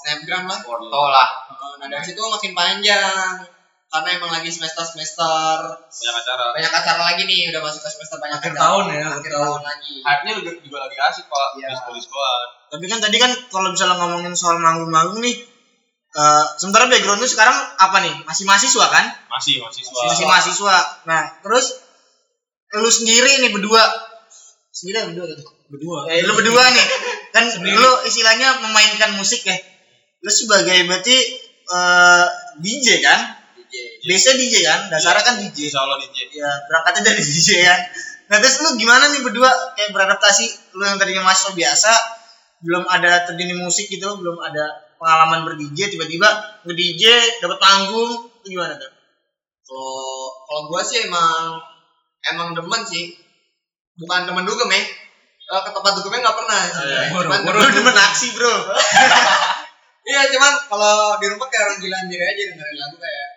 Speaker 4: snapgram lah.
Speaker 8: Tol lah.
Speaker 4: Heeh, Nah dari situ makin panjang karena emang lagi semester semester
Speaker 3: Banyak acara.
Speaker 4: banyak acara lagi nih udah masuk ke semester banyak
Speaker 2: Akhir
Speaker 4: acara.
Speaker 2: tahun ya, akhir
Speaker 4: akhir tahun lagi
Speaker 3: Hype-nya juga, juga lagi asik pak.
Speaker 4: Iya.
Speaker 3: Diskon diskoan.
Speaker 1: Tapi kan tadi kan kalau misalnya ngomongin soal manggung-manggung nih, eh sementara background lu sekarang apa nih? Masih mahasiswa kan?
Speaker 3: Masih mahasiswa.
Speaker 1: Masih mahasiswa. Nah, terus lu sendiri nih berdua sendiri atau berdua gitu.
Speaker 2: Berdua.
Speaker 1: Eh,
Speaker 3: ya,
Speaker 1: lu berdua nih. Kan lu istilahnya memainkan musik ya. Lu sebagai berarti eh, DJ kan?
Speaker 4: DJ
Speaker 1: Biasanya DJ kan? Dasarnya kan DJ.
Speaker 3: Insya Allah DJ.
Speaker 1: ya berangkatnya dari DJ kan nah terus lu gimana nih berdua kayak beradaptasi lu yang tadinya mahasiswa biasa belum ada terjun di musik gitu belum ada pengalaman ber DJ tiba-tiba nge DJ dapat panggung itu gimana tuh
Speaker 4: kalau kalau gue sih emang emang demen sih bukan demen dugem ya Eh, ke tempat dugemnya nggak pernah
Speaker 3: iya.
Speaker 4: cuman
Speaker 1: lu demen aksi bro
Speaker 4: iya cuman kalau di rumah kayak orang gila sendiri aja dengerin lagu kayak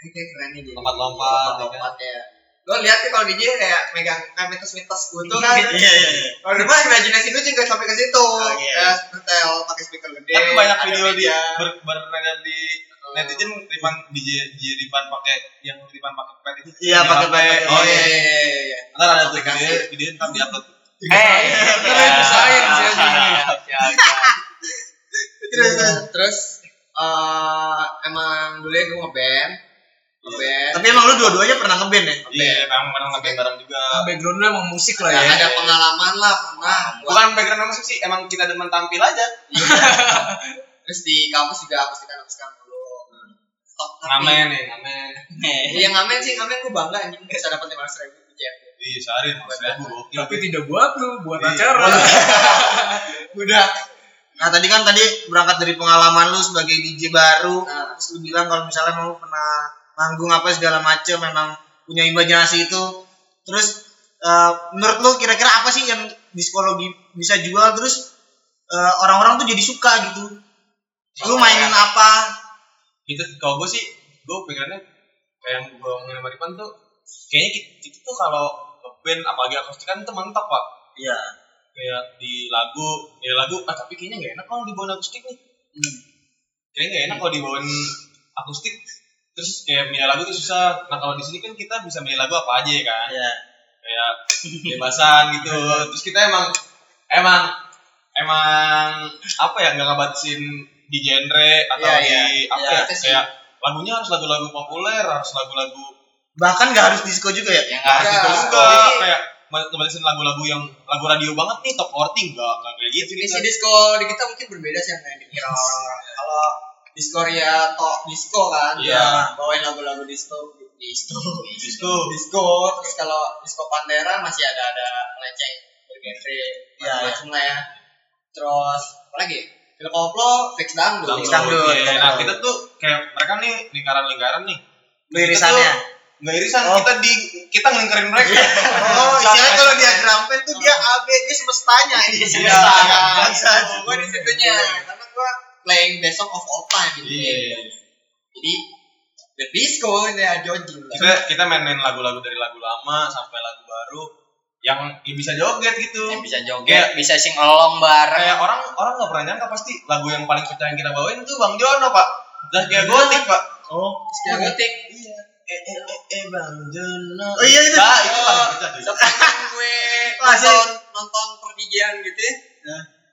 Speaker 4: ini kayak keren nih dia
Speaker 3: Lompat-lompat,
Speaker 4: lompat ya lo lihat sih kalau DJ kayak megang kayak mitos-mitos gitu kan
Speaker 1: iya iya iya.
Speaker 4: kalau di rumah imajinasi gue juga sampai ke situ
Speaker 1: iya.
Speaker 4: ya setel pakai speaker gede
Speaker 3: Tapi banyak
Speaker 4: ada
Speaker 3: video dia
Speaker 4: media.
Speaker 3: ber, beredar di netizen Ripan DJ DJ Ripan pakai yang Ripan pakai pet itu.
Speaker 1: Iya,
Speaker 3: Yang
Speaker 1: pakai
Speaker 3: pakai-
Speaker 1: pet.
Speaker 3: Oh
Speaker 4: oh iya
Speaker 3: iya.
Speaker 4: iya iya, iya
Speaker 3: Ntar ada tuh video video ntar diupload.
Speaker 8: Eh,
Speaker 2: itu
Speaker 3: Nah, iya,
Speaker 2: sayang sih, anjing.
Speaker 1: terus terus.
Speaker 4: terus eh emang dulu ya gue ngeband ngeband
Speaker 1: tapi emang lu dua-duanya pernah ngeband ya
Speaker 3: Iya, emang pernah ngeband bareng juga.
Speaker 2: Eh, Background lu emang musik lah
Speaker 4: Nah,
Speaker 2: ya.
Speaker 4: ada pengalaman lah pernah buat
Speaker 3: Bukan background musik sih, emang kita demen tampil aja.
Speaker 4: terus di kampus juga aku sekarang sekarang dulu Stop, tapi-
Speaker 3: Ngamen nih, ngamen.
Speaker 4: iya ngamen sih ngamen gue bangga anjing bisa dapat lima ratus ribu ya
Speaker 3: Iya, sehari mas ribu gokil.
Speaker 2: Tapi tidak buat lu, buat
Speaker 3: Iya.
Speaker 2: acara.
Speaker 1: udah nah tadi kan tadi berangkat dari pengalaman lu sebagai DJ baru
Speaker 3: Ah.
Speaker 4: Nah.
Speaker 1: terus lu bilang kalau misalnya emang lu pernah manggung apa segala macem memang punya imajinasi itu terus eh, menurut lu kira-kira apa sih yang diskologi bisa jual terus eh, orang-orang tuh jadi suka gitu lu mainin apa
Speaker 3: Kita kalau gue sih, gue pikirannya kayak yang gue ngomongin sama Ripan tuh, kayaknya kita, kita tuh kalau ngeband apalagi akustik kan itu mantap pak.
Speaker 1: Iya.
Speaker 3: Kayak di lagu, ya lagu, ah tapi kayaknya nggak enak kalau dibawain akustik nih.
Speaker 4: Hmm.
Speaker 3: Kayaknya nggak enak kalau dibawain akustik. Terus kayak milih lagu tuh susah. Nah kalau di sini kan kita bisa milih lagu apa aja ya kan.
Speaker 1: Iya.
Speaker 3: kayak bebasan gitu terus kita emang emang emang apa ya nggak ngebatasin di genre atau
Speaker 4: Iya,
Speaker 3: di apa
Speaker 4: Iya,
Speaker 3: ya
Speaker 4: itu sih.
Speaker 3: kayak lagunya harus lagu-lagu populer harus lagu-lagu
Speaker 1: bahkan gak harus disco juga ya
Speaker 8: Yang harus
Speaker 4: Iya.
Speaker 3: gitu
Speaker 8: itu.
Speaker 3: juga
Speaker 4: jadi-
Speaker 3: kayak ngebatasin lagu-lagu yang lagu radio banget nih top 40 enggak enggak kayak gitu
Speaker 4: definisi
Speaker 3: kan.
Speaker 4: disco di kita mungkin berbeda sih sama yang
Speaker 1: Iya.
Speaker 4: dikira orang-orang kalau disco ya tok disco kan
Speaker 3: Iya.
Speaker 4: ya, bawain lagu-lagu disco disco
Speaker 3: disco
Speaker 4: disco terus kalau disco Pantera masih ada ada melenceng bergenre
Speaker 1: Iya,
Speaker 4: macam lah ya terus apa lagi Phil Koplo fix dangdut
Speaker 3: Dangdut,
Speaker 1: dangdut,
Speaker 3: iya. nah
Speaker 1: dangdut.
Speaker 3: kita tuh kayak mereka nih lingkaran-lingkaran nih
Speaker 1: lirisannya
Speaker 3: nggak irisan
Speaker 1: Oh.
Speaker 3: kita di kita ngelingkarin mereka
Speaker 1: oh istilahnya kalau dia drumpet tuh dia AB dia semestanya ini
Speaker 3: Iya.
Speaker 1: Bangsat.
Speaker 4: gue di situnya karena gue playing best song of all time gitu
Speaker 3: iya
Speaker 4: jadi the disco ini ya Jojo lah.
Speaker 3: kita kita mainin lagu-lagu dari lagu lama sampai lagu baru yang yang bisa joget gitu
Speaker 4: Eh,
Speaker 8: Yang bisa joget, bisa sing along
Speaker 3: kayak
Speaker 8: bareng.
Speaker 3: orang orang nggak pernah nyangka pasti lagu yang paling pecah yang kita bawain tuh bang Jono pak dan kayak gotik pak
Speaker 1: oh
Speaker 4: Sekian gotik
Speaker 3: eh eh eh, eh bang Jono
Speaker 1: oh iya itu
Speaker 3: nah itu paling pecah cuy.
Speaker 4: Sekarang gue
Speaker 1: Wah, sih.
Speaker 4: nonton nonton perdigian gitu ya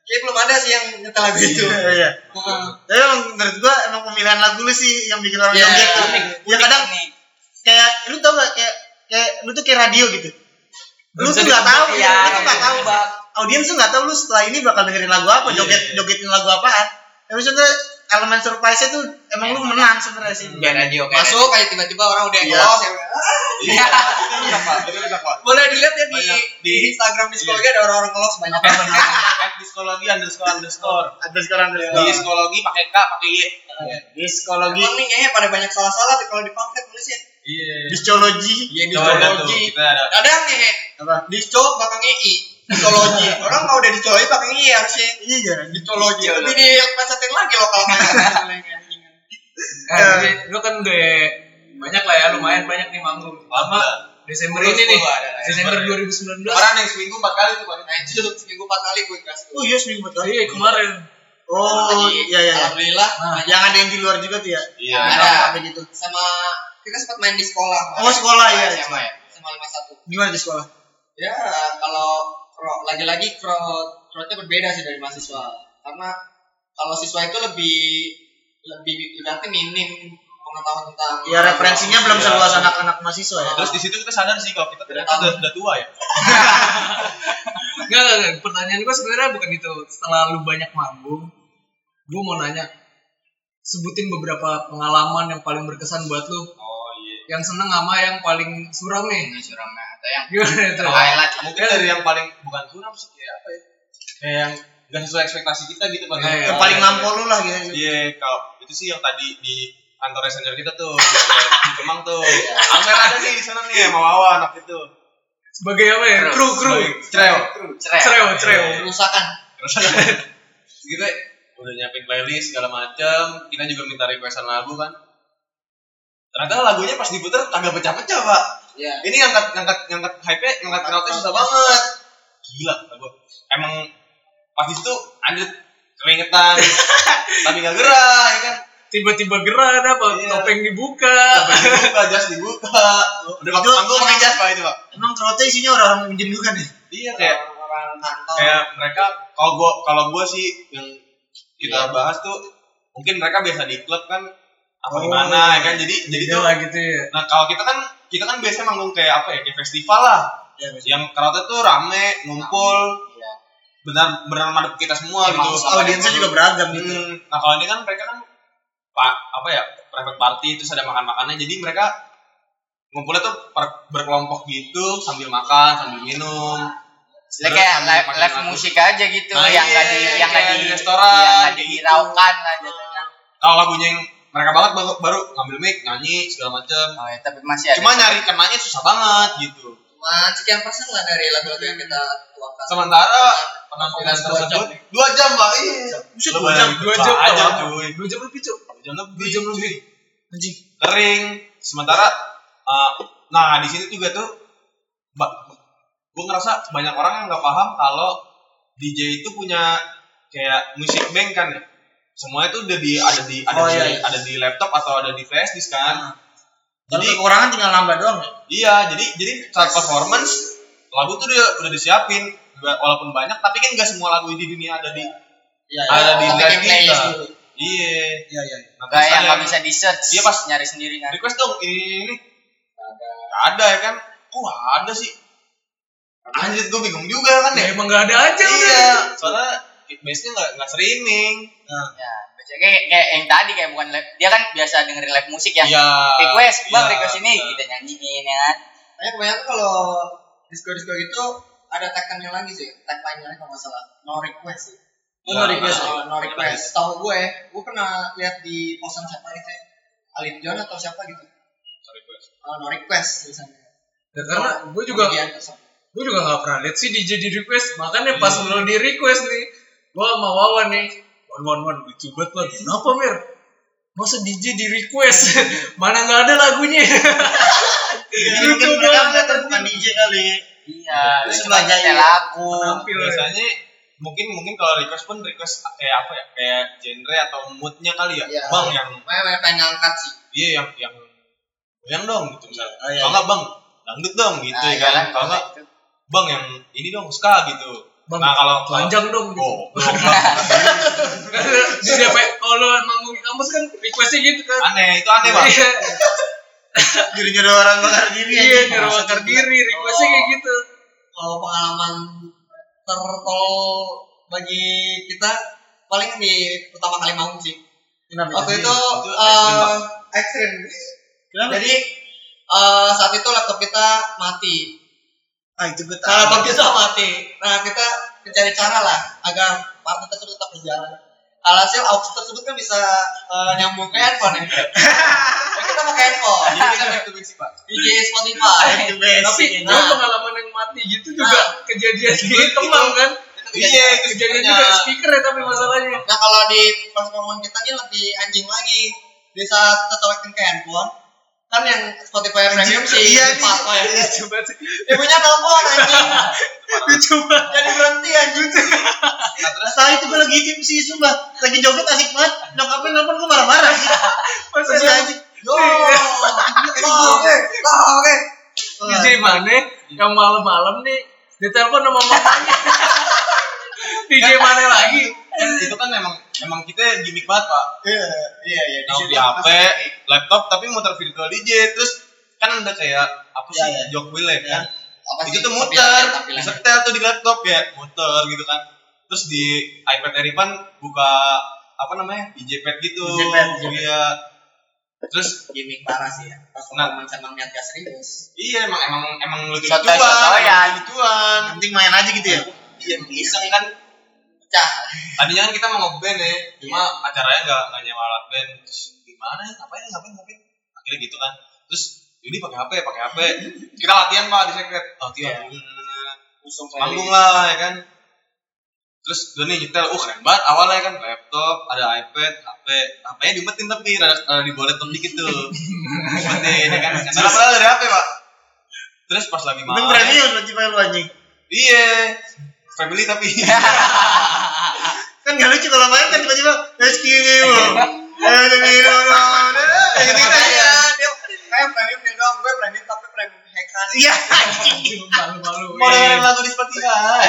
Speaker 4: Kayaknya belum ada sih yang nyetel lagu itu
Speaker 1: Iya, iya.
Speaker 4: Heeh.
Speaker 1: Tapi emang menurut gua emang pemilihan lagu lu sih yang bikin orang
Speaker 4: Iya,
Speaker 1: joget tuh.
Speaker 4: unik,
Speaker 1: Ya kadang kayak lu tau gak kayak kayak lu tuh kayak radio gitu. Lu tuh gak tahu,
Speaker 8: ya,
Speaker 1: lu tuh gak tahu. Audiens tuh gak tahu lu setelah ini bakal dengerin lagu apa,
Speaker 3: Iya,
Speaker 1: joget
Speaker 3: iya.
Speaker 1: jogetin lagu apaan. Tapi sebenarnya elemen surprise-nya tuh emang lu menang sebenarnya sih.
Speaker 4: Iya,
Speaker 8: Biar radio kayak radio.
Speaker 4: masuk kayak tiba-tiba orang udah
Speaker 1: Iya.
Speaker 4: ngelos ya "Ah,
Speaker 3: iya itu rusak pak itu rusak pak
Speaker 4: boleh dilihat ya di,
Speaker 3: Banyak.
Speaker 4: di Instagram di sekolah ada orang-orang ngelos banyak
Speaker 3: Eh, eh, diskologi underscore underscore
Speaker 1: Ada sekarang dari
Speaker 3: diskologi pakai k pakai y
Speaker 1: Iya. diskologi,
Speaker 4: Emang nih kayaknya eh, pada banyak salah-salah tuh kalau di pamflet ya. tulisnya
Speaker 3: iya
Speaker 1: discologi,
Speaker 4: Iya
Speaker 3: Coba lihat tuh, Oh, kita ada
Speaker 4: Ada ngehe
Speaker 1: apa?
Speaker 4: Disco bakal ngei mitologi orang mau udah dicoloki pakai ini harusnya
Speaker 1: Iya.
Speaker 4: mitologi lebih dipesetin lagi lokal
Speaker 2: Nah, jadi lu kan udah banyak lah ya, lumayan banyak nih manggung. Lama Desember ini nih, Desember 2019.
Speaker 3: Orang yang seminggu empat kali tuh baru naik.
Speaker 4: anjir seminggu empat kali gue gas
Speaker 1: Oh iya seminggu betul.
Speaker 2: Iya kemarin.
Speaker 1: Oh
Speaker 4: Lagi.
Speaker 1: iya iya. iya.
Speaker 4: alhamdulillah
Speaker 2: Nah,
Speaker 1: Yang ada yang di luar juga tuh ya.
Speaker 3: Iya.
Speaker 4: Ada.
Speaker 1: Apa gitu.
Speaker 4: sama kita sempat main di sekolah
Speaker 1: Oh sekolah ya.
Speaker 4: sama ya sama lima satu
Speaker 1: Gimana di sekolah?
Speaker 4: ya kalau kro- lagi-lagi crowd crowdnya berbeda sih dari mahasiswa karena kalau siswa itu lebih lebih berarti minim pengetahuan tentang
Speaker 1: Ya referensinya
Speaker 3: Iya.
Speaker 1: belum seluas anak-anak mahasiswa ya.
Speaker 3: Terus di situ kita sadar sih kalau kita ternyata udah, udah tua ya.
Speaker 2: Enggak, enggak, enggak. Pertanyaan gue sebenarnya bukan itu. Setelah lu banyak manggung, gue mau nanya, sebutin beberapa pengalaman yang paling berkesan buat lu.
Speaker 3: Oh iya.
Speaker 2: Yang seneng sama yang paling suram nih.
Speaker 9: Ini suramnya atau yang
Speaker 2: Gimana itu?
Speaker 9: highlight lah.
Speaker 3: Mungkin dari yang paling bukan suram sih kayak apa ya? Kayak yang gak sesuai ekspektasi kita gitu bang.
Speaker 2: Iya, iya.
Speaker 1: Yang paling lampau lu lah gitu.
Speaker 3: Iya, kalau itu sih yang tadi di kantor senior kita tuh di Kemang tuh. Angker ada nih di sana nih mau awa anak itu.
Speaker 2: Sebagai apa ya?
Speaker 9: Terus.
Speaker 2: Kru, kru.
Speaker 3: Treo.
Speaker 9: Cerewet.
Speaker 2: Cereo, cereo.
Speaker 4: kerusakan
Speaker 3: Terus kita udah nyiapin playlist segala macam. Kita juga minta requestan lagu kan. Ternyata lagunya pas diputer kagak pecah-pecah pak.
Speaker 4: ya
Speaker 9: Iya.
Speaker 3: Ini ngangkat ngangkat ngangkat hype, ngangkat ngangkatnya susah banget. Gila kata gua. Emang pas itu ada keringetan, tapi nggak gerah, ya kan?
Speaker 2: Tiba-tiba gerah ada apa?
Speaker 3: Iya.
Speaker 2: Topeng dibuka.
Speaker 3: Sampai dibuka, jas dibuka. Udah waktu panggung pakai jas pak itu pak.
Speaker 1: Emang crowdnya isinya ya? orang-orang minjem juga nih.
Speaker 3: Iya kayak
Speaker 4: orang kantor
Speaker 3: kayak mereka kalau gua kalau gua sih yang kita bahas tuh mungkin mereka biasa di klub kan apa
Speaker 1: Oh,
Speaker 3: gimana ya kan jadi jadi
Speaker 2: Iya
Speaker 3: tuh
Speaker 2: lah gitu ya.
Speaker 3: nah kalau kita kan kita kan biasanya manggung kayak apa ya kayak festival lah
Speaker 1: Iya, biasa.
Speaker 3: yang karate tuh rame ngumpul
Speaker 4: Iya.
Speaker 3: benar benar madep kita semua
Speaker 9: Emang
Speaker 3: gitu
Speaker 1: Audiensnya juga beragam gitu.
Speaker 3: Hmm, nah kalau ini kan mereka kan pak apa ya private party terus ada makan makannya jadi mereka ngumpulnya tuh per- berkelompok gitu sambil makan sambil minum
Speaker 9: Jadi
Speaker 4: Iya,
Speaker 3: Terus
Speaker 9: kayak
Speaker 3: sambil
Speaker 9: live,
Speaker 3: makin
Speaker 9: live
Speaker 3: lagu.
Speaker 9: musik aja gitu
Speaker 3: Nah, iya,
Speaker 9: yang nggak di yang nggak gitu.
Speaker 3: kayak
Speaker 9: di
Speaker 3: di restoran,
Speaker 9: yang nggak
Speaker 3: kayak gitu.
Speaker 9: dihiraukan lah jadinya.
Speaker 3: kalau lagunya yang mereka banget baru, baru ngambil mic nyanyi segala macem
Speaker 9: Oh ya, tapi masih ada.
Speaker 3: cuma nyari kenanya susah banget gitu
Speaker 4: cuman sekian persen lah dari lagu-lagu yang kita tuangkan
Speaker 3: sementara penampilan tersebut dua jam pak iya
Speaker 2: Buset,
Speaker 3: Lu
Speaker 2: dua jam,
Speaker 3: bayangin,
Speaker 2: dua jam,
Speaker 3: dua jam,
Speaker 2: tau.
Speaker 3: cuy.
Speaker 2: dua jam lebih cuy.
Speaker 3: dua jam lebih
Speaker 2: Dua jam lebih. Anjing.
Speaker 3: kering sementara uh, nah di sini juga tuh gue ngerasa banyak orang yang nggak paham kalau DJ itu punya kayak musik bank kan ya semuanya tuh udah di ada di ada
Speaker 1: Oh,
Speaker 3: di
Speaker 1: iya, iya.
Speaker 3: ada di laptop atau ada di flash disk kan
Speaker 1: Kalau
Speaker 3: jadi
Speaker 1: kekurangan tinggal nambah doang ya.
Speaker 3: iya jadi jadi saat performance lagu tuh udah udah disiapin Ba- walaupun banyak tapi kan nggak semua lagu di dunia ada di
Speaker 1: Iya.
Speaker 3: ada di
Speaker 9: Tapi
Speaker 3: flash
Speaker 9: di
Speaker 3: disk
Speaker 9: playlist
Speaker 3: kan.
Speaker 9: dulu.
Speaker 3: iya
Speaker 1: Iya iya.
Speaker 3: Nah,
Speaker 9: Nggak
Speaker 3: terus
Speaker 9: yang
Speaker 3: ada
Speaker 9: nggak bisa di search.
Speaker 3: Iya, pas-
Speaker 9: nyari sendiri kan.
Speaker 3: request dong ini ini, ini Nggak ada ya kan kok nggak ada sih anjir gue bingung juga kan
Speaker 2: Ya
Speaker 3: ya
Speaker 2: emang nggak ada aja.
Speaker 3: iya soalnya base nya nggak nggak streaming
Speaker 9: Ya, biasanya kayak, kayak yang tadi kayak bukan live. Dia kan biasa dengerin live musik ya.
Speaker 3: Iya,
Speaker 9: Request, bang
Speaker 3: iya,
Speaker 9: request ini
Speaker 3: iya.
Speaker 9: kita nyanyiin ya kan.
Speaker 4: Kayaknya kebanyakan kalau disco-disco gitu ada tagline lagi sih, tagline-nya kalau nggak salah. No request sih.
Speaker 3: Oh, no request ya?
Speaker 4: Oh, no request. Tahu gue, gue pernah lihat di posan siapa gitu ya. Alin John atau siapa gitu. Oh, no request tulisannya.
Speaker 2: Ya, karena gue juga
Speaker 4: Kemudian
Speaker 3: Iya.
Speaker 4: terus-
Speaker 2: gue juga gak pernah lihat sih DJ di request makanya pas
Speaker 3: Iya.
Speaker 2: lo di request nih gue sama Wawan nih Wan Wan Wan lucu banget Wan kenapa Mir masa DJ di request mana gak ada lagunya
Speaker 3: Iya,
Speaker 1: Jadi
Speaker 2: Lucu
Speaker 3: kan
Speaker 1: mungkin mereka
Speaker 2: banget.
Speaker 1: ngeliatnya bukan DJ kali.
Speaker 9: Iya,
Speaker 1: Terus
Speaker 9: cuma
Speaker 1: sebagai
Speaker 9: nyanyi lagu.
Speaker 2: tampil
Speaker 3: biasanya mungkin mungkin kalau request pun request kayak apa ya kayak genre atau moodnya kali ya
Speaker 4: Iya.
Speaker 3: bang yang
Speaker 4: Pokoknya banyak yang ngangkat sih.
Speaker 3: dia yang yang goyang dong gitu misalnya
Speaker 1: Oh, iya,
Speaker 3: kalau nggak bang dangdut dong gitu
Speaker 4: Ah,
Speaker 9: Nah,
Speaker 4: iya,
Speaker 3: ya kan
Speaker 9: iyalah,
Speaker 3: kalau nggak bang yang ini dong ska gitu
Speaker 2: Bang,
Speaker 3: nah kalau kalau-
Speaker 2: panjang dong
Speaker 3: Oh, goblok.
Speaker 2: di siapa kalau manggung di kampus kan requestnya gitu kan
Speaker 3: aneh itu aneh bang
Speaker 2: Iya,
Speaker 1: Jadi nyuruh orang bakar diri
Speaker 2: iya nyuruh bakar diri requestnya kayak gitu
Speaker 4: Kalau pengalaman tertol bagi kita paling di pertama kali manggung sih.
Speaker 1: Kenapa?
Speaker 2: Iya.
Speaker 4: Waktu itu
Speaker 3: Itu
Speaker 4: eh ekstrim.
Speaker 1: Kenapa?
Speaker 4: Jadi Nah, eh, saat itu laptop kita mati.
Speaker 1: ah itu gue
Speaker 4: Nah,
Speaker 1: tahu.
Speaker 4: laptop kita mati. Nah, kita mencari cara lah agar party tersebut tetap berjalan. Alhasil aux tersebut kan bisa eh, nyambung ke handphone ya.
Speaker 3: Iya.
Speaker 4: Nah, kita pakai handphone, jadi kita back to basic, Pak. DJ Spotify.
Speaker 1: Itu basic
Speaker 2: tapi
Speaker 1: aja.
Speaker 2: iya. gue pengalaman yang mati gitu juga kejadian di teman kan
Speaker 3: Iya, itu
Speaker 2: kejadian
Speaker 3: sebenarnya.
Speaker 2: juga speaker ya tapi masalahnya
Speaker 4: Nah kalau di pas ngomong kita ini lebih anjing lagi. Di saat kita tawakin ke handphone, kan yang Spotify premium sih
Speaker 1: Iya,
Speaker 4: iya, Pak ya.
Speaker 2: coba sih
Speaker 4: Ibunya telepon anjing.
Speaker 2: coba
Speaker 4: Jadi berhenti anjing.
Speaker 1: Saat itu gue lagi tim sih, sumpah Lagi joget asik banget Nyokapin nelfon gue marah-marah
Speaker 2: masa
Speaker 1: Terus
Speaker 2: dia-
Speaker 1: aja
Speaker 4: Yo.
Speaker 2: Iya.
Speaker 4: Oke. Oke.
Speaker 2: DJ mana yang malam-malam nih ditelepon sama mamanya DJ mana lagi
Speaker 3: kan itu kan emang emang kita gimmick banget pak
Speaker 4: Iya, iya.
Speaker 3: Tahu di HP laptop tapi muter virtual DJ terus kan ada kayak apa sih
Speaker 4: Iya, iya.
Speaker 3: jog wheel ya kan
Speaker 4: Apa
Speaker 3: itu
Speaker 4: sih?
Speaker 3: tuh
Speaker 4: Tapi
Speaker 3: muter
Speaker 4: lah, tapi lah.
Speaker 3: setel tuh di laptop ya muter gitu kan terus di iPad Erivan buka apa namanya DJ pad gitu
Speaker 1: DJ pad, DJ pad.
Speaker 3: iya terus
Speaker 4: Gimik parah sih ya. Pas
Speaker 3: Nah.
Speaker 4: ngomong sama ngeliat gak serius.
Speaker 3: iya emang emang emang lucu
Speaker 10: Sotoy- sotoyan.
Speaker 1: Yang
Speaker 3: lucuan
Speaker 1: penting main aja gitu ya
Speaker 3: ya, iya iseng kan
Speaker 4: Pecah.
Speaker 3: tadinya kan kita mau ngeband ya cuma acaranya nggak nggak nyewa alat band terus gimana ya ngapain ngapain ngapain akhirnya gitu kan terus jadi pakai HP pakai HP kita latihan pak di secret "Oh, latihan manggung lah ya kan terus gue nih nyetel uh keren banget awalnya kan laptop ada iPad HP HP-nya diumpetin tapi rada, rada diboletin dikit tuh diumpetin ya kan karena padahal dari HP pak terus pas lagi
Speaker 1: Untung
Speaker 3: malam
Speaker 1: berani ya Spotify lu anjing
Speaker 3: iya family tapi
Speaker 1: Kan gak lucu kalau main kan tiba-tiba Let's kill you And we don't know." Eh, gitu
Speaker 4: Gitu
Speaker 1: kan,
Speaker 4: ya.
Speaker 1: ya.
Speaker 4: Dia kayak premium dia doang. Gue premium tapi premium hackan.
Speaker 1: Iya anjing
Speaker 2: malu-malu
Speaker 3: mau dengerin lagu di Spotify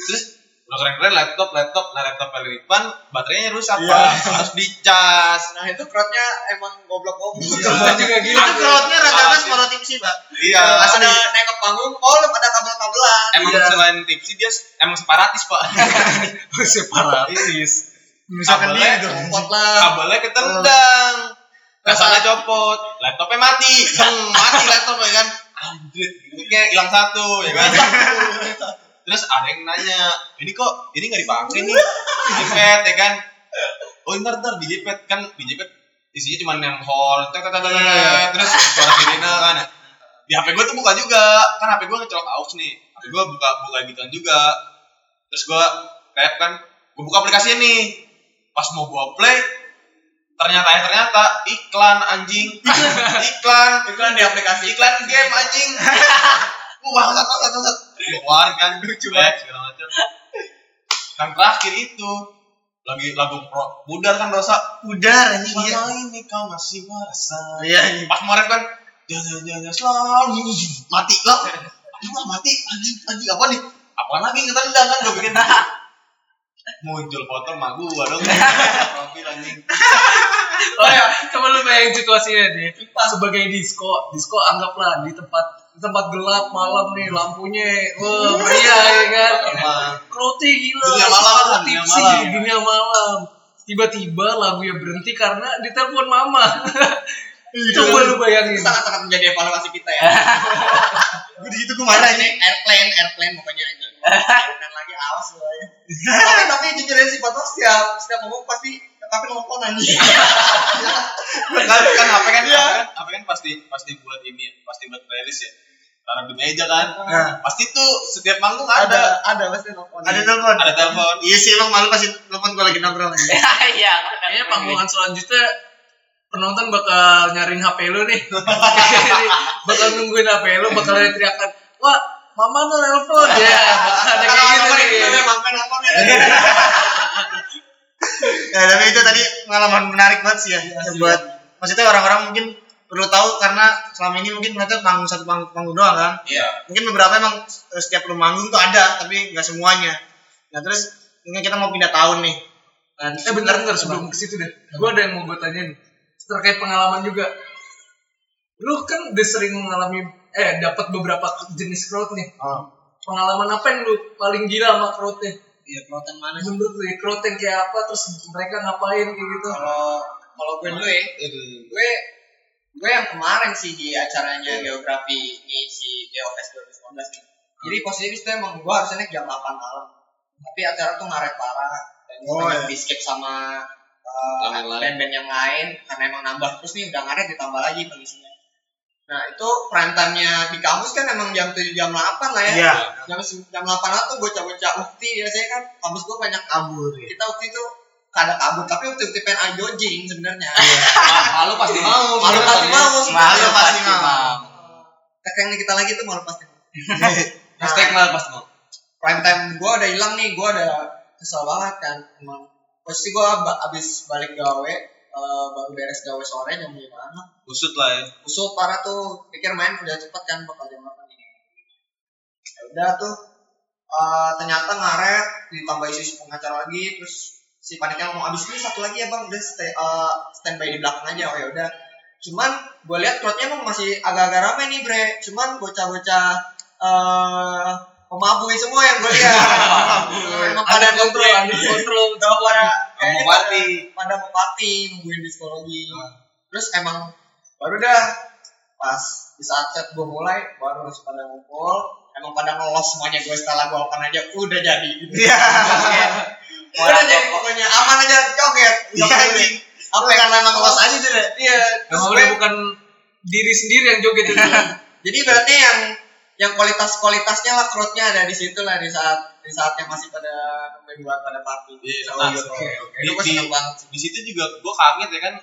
Speaker 3: terus udah keren-keren laptop laptop nah laptop Felipan baterainya rusak
Speaker 1: Iya.
Speaker 3: pak harus dicas
Speaker 4: Nah itu crowdnya emang goblok-goblok.
Speaker 2: Kita juga gila
Speaker 1: Itu crowdnya rata-rata sekolah tim sih pak
Speaker 3: iya
Speaker 4: Pas ada naik ke panggung, oh lu pada Iya. kabel-kabelan.
Speaker 3: emang selain tipsi dia s- emang separatis pak
Speaker 2: separatis
Speaker 1: Misalkan dia
Speaker 3: Kabelnya-
Speaker 1: gitu
Speaker 4: Kompot lah.
Speaker 3: kabelnya ketendang kasarnya copot laptopnya mati Bang, mati laptop ya kan anjir duitnya hilang satu ya kan terus ada yang nanya ini kok ini nggak dipakai nih dijepet ya kan oh ntar ntar dijepet kan dijepet isinya cuma yang hall tet, tet, tet, tet, tet. terus suara sirena kan di HP gue tuh buka juga kan HP gue ngecolok aux nih HP gue buka buka gituan juga terus gue kayak kan gue buka aplikasi nih pas mau gue play ternyata eh, ternyata iklan anjing iklan
Speaker 4: Iklan di aplikasi.
Speaker 3: iklan game anjing gue bangsat bangsat bangsat gue keluarin kan lucu segala macam yang terakhir itu lagi lagu pro budar kan dosa
Speaker 1: Udar anjing iya
Speaker 4: Nah,
Speaker 3: Mana ini kau masih merasa
Speaker 1: Iya anjing
Speaker 3: pas kemarin kan jangan jangan selalu mati lah aduh lah, mati anjing anjing apa nih apa lagi ketendang kan gue bikin muncul foto mah gua dong profil anjing
Speaker 2: oh ya coba lu bayangin situasinya nih sebagai disco disco anggaplah di tempat di tempat gelap malam nih lampunya wah meriah ya kan
Speaker 3: Emang.
Speaker 2: Krote gila
Speaker 3: Dunia malam,
Speaker 2: Suara
Speaker 3: dunia
Speaker 2: tipsi
Speaker 3: malam.
Speaker 2: di dunia malam tiba-tiba lagunya berhenti karena ditelepon mama
Speaker 3: Iya.
Speaker 2: coba lu bayangin
Speaker 4: sangat-sangat menjadi evaluasi kita ya.
Speaker 1: Gue disitu gue marah anjing
Speaker 4: Ini airplane, airplane pokoknya anjing. Dan lagi awas lu ya. tapi tapi jujur aja sih Fatwa setiap setiap ngomong pasti tapi nelfon anjing.
Speaker 3: kan kan HP kan
Speaker 1: Iya.
Speaker 3: HP kan pasti pasti buat ini ya, pasti buat playlist ya taruh di meja kan
Speaker 1: Nah.
Speaker 3: pasti tuh setiap manggung ada
Speaker 4: ada pasti nelfon.
Speaker 1: Ada telepon
Speaker 3: ada telepon gitu
Speaker 1: Iya sih emang malu pasti telepon gue lagi nongkrong anjing.
Speaker 10: Iya.
Speaker 2: kayaknya panggungan selanjutnya penonton bakal nyariin HP lu nih bakal nungguin HP lu bakal ada teriakan wah mama lu nelpon ya bakal ada kayak gitu nih
Speaker 4: mampir nelfon ya.
Speaker 1: Ya, tapi itu tadi pengalaman menarik banget sih ya. buat maksudnya orang-orang mungkin perlu tahu karena selama ini mungkin mereka panggung satu panggung, panggung doang kan.
Speaker 3: iya
Speaker 1: Mungkin beberapa emang eh, setiap lu manggung tuh ada, tapi nggak semuanya. Nah terus mungkin kita mau pindah tahun nih. Nah,
Speaker 2: eh bentar bentar sebelum ke situ deh gue ada yang mau gue tanyain terkait pengalaman juga lu kan udah sering mengalami eh dapat beberapa jenis crowd nih pengalaman apa yang lu paling gila sama crowdnya
Speaker 4: Iya, konten mana?
Speaker 2: menurut lu ya, crowd yang kayak apa terus mereka ngapain kayak gitu
Speaker 4: Kalau kalau gue dulu ya, gue gue yang kemarin sih di
Speaker 1: Iya.
Speaker 4: acaranya geografi ini si Geofest 2019 nih. Jadi posisinya itu emang gue harusnya naik jam 8 malam. Tapi acara tuh ngaret parah. Dan gue
Speaker 1: Oh,
Speaker 4: banyak
Speaker 1: iya.
Speaker 4: di skip sama uh,
Speaker 3: Lain-lain.
Speaker 4: band-band yang lain karena emang nambah terus nih udah ngaret ditambah lagi pengisinya. Nah itu prime time-nya di kampus kan emang jam 7 jam 8 lah ya.
Speaker 1: Iya.
Speaker 4: Jam, se- jam 8 lah tuh bocah-bocah ukti biasanya kan kampus gua banyak kabur.
Speaker 1: Iya.
Speaker 4: Kita waktu itu kada kabur tapi waktu itu pengen ayo jogging sebenarnya.
Speaker 5: Malu pasti mau.
Speaker 4: malu pasti mau.
Speaker 9: Malu pasti mau.
Speaker 4: Tekengnya kita lagi tuh malu pasti mau.
Speaker 5: Hashtag malu pasti mau.
Speaker 4: prime time gua udah hilang nih, gua udah kesel banget kan emang. Pasti gua ba- abis balik gawe eh, baru beres gawe sore jam 5
Speaker 3: Usut lah ya.
Speaker 4: musuh parah tuh pikir main udah cepet kan bakal jam 8 ini ya udah tuh eh, ternyata ngaret ditambah isu-isu pengacara lagi terus si paniknya ngomong abis ini satu lagi ya bang udah stay, eh, standby di belakang aja oh ya udah cuman gue lihat crowdnya emang masih agak-agak rame nih bre cuman bocah-bocah eh pemabui semua yang gue lihat emang pada kontrol kontrol udah pada kayaknya pada- pada mau party nungguin psikologi terus emang Nah. baru dah pas di saat set gue mulai baru harus pada ngumpul emang pada ngelos semuanya gue setelah gue open aja udah jadi
Speaker 1: Iya.
Speaker 4: udah jadi pokoknya aman aja joget
Speaker 1: Iya, anjing.
Speaker 4: apa yang karena emang ngelos aja tuh deh iya terus
Speaker 2: Emang
Speaker 4: gue,
Speaker 2: udah bukan diri sendiri yang joget ya. itu.
Speaker 4: jadi berarti yang yang kualitas kualitasnya lah crowdnya ada di situ lah di saat di saat yang masih pada nungguin buat pada party
Speaker 3: Iya,
Speaker 4: Bisa
Speaker 3: nah,
Speaker 4: gitu.
Speaker 3: oke,
Speaker 4: itu gue
Speaker 3: Di-
Speaker 4: seneng banget sih.
Speaker 3: Di situ juga gue kaget ya kan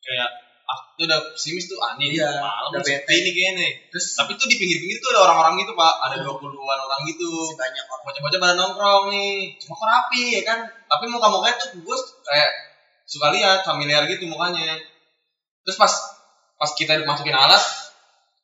Speaker 3: kayak ah itu udah pesimis tuh Ah, aneh
Speaker 4: Iya,
Speaker 3: malam
Speaker 4: udah
Speaker 3: sepi
Speaker 4: bete.
Speaker 3: ini kayaknya nih.
Speaker 4: terus Iya.
Speaker 3: Tapi tuh di pinggir-pinggir tuh ada orang-orang gitu pak, ada dua puluhan orang gitu.
Speaker 4: masih banyak orang
Speaker 3: Bocah-bocah pada nongkrong nih, cuma kok rapi ya kan. Tapi muka-mukanya tuh gue kayak suka lihat familiar gitu mukanya. Terus pas pas kita masukin alat,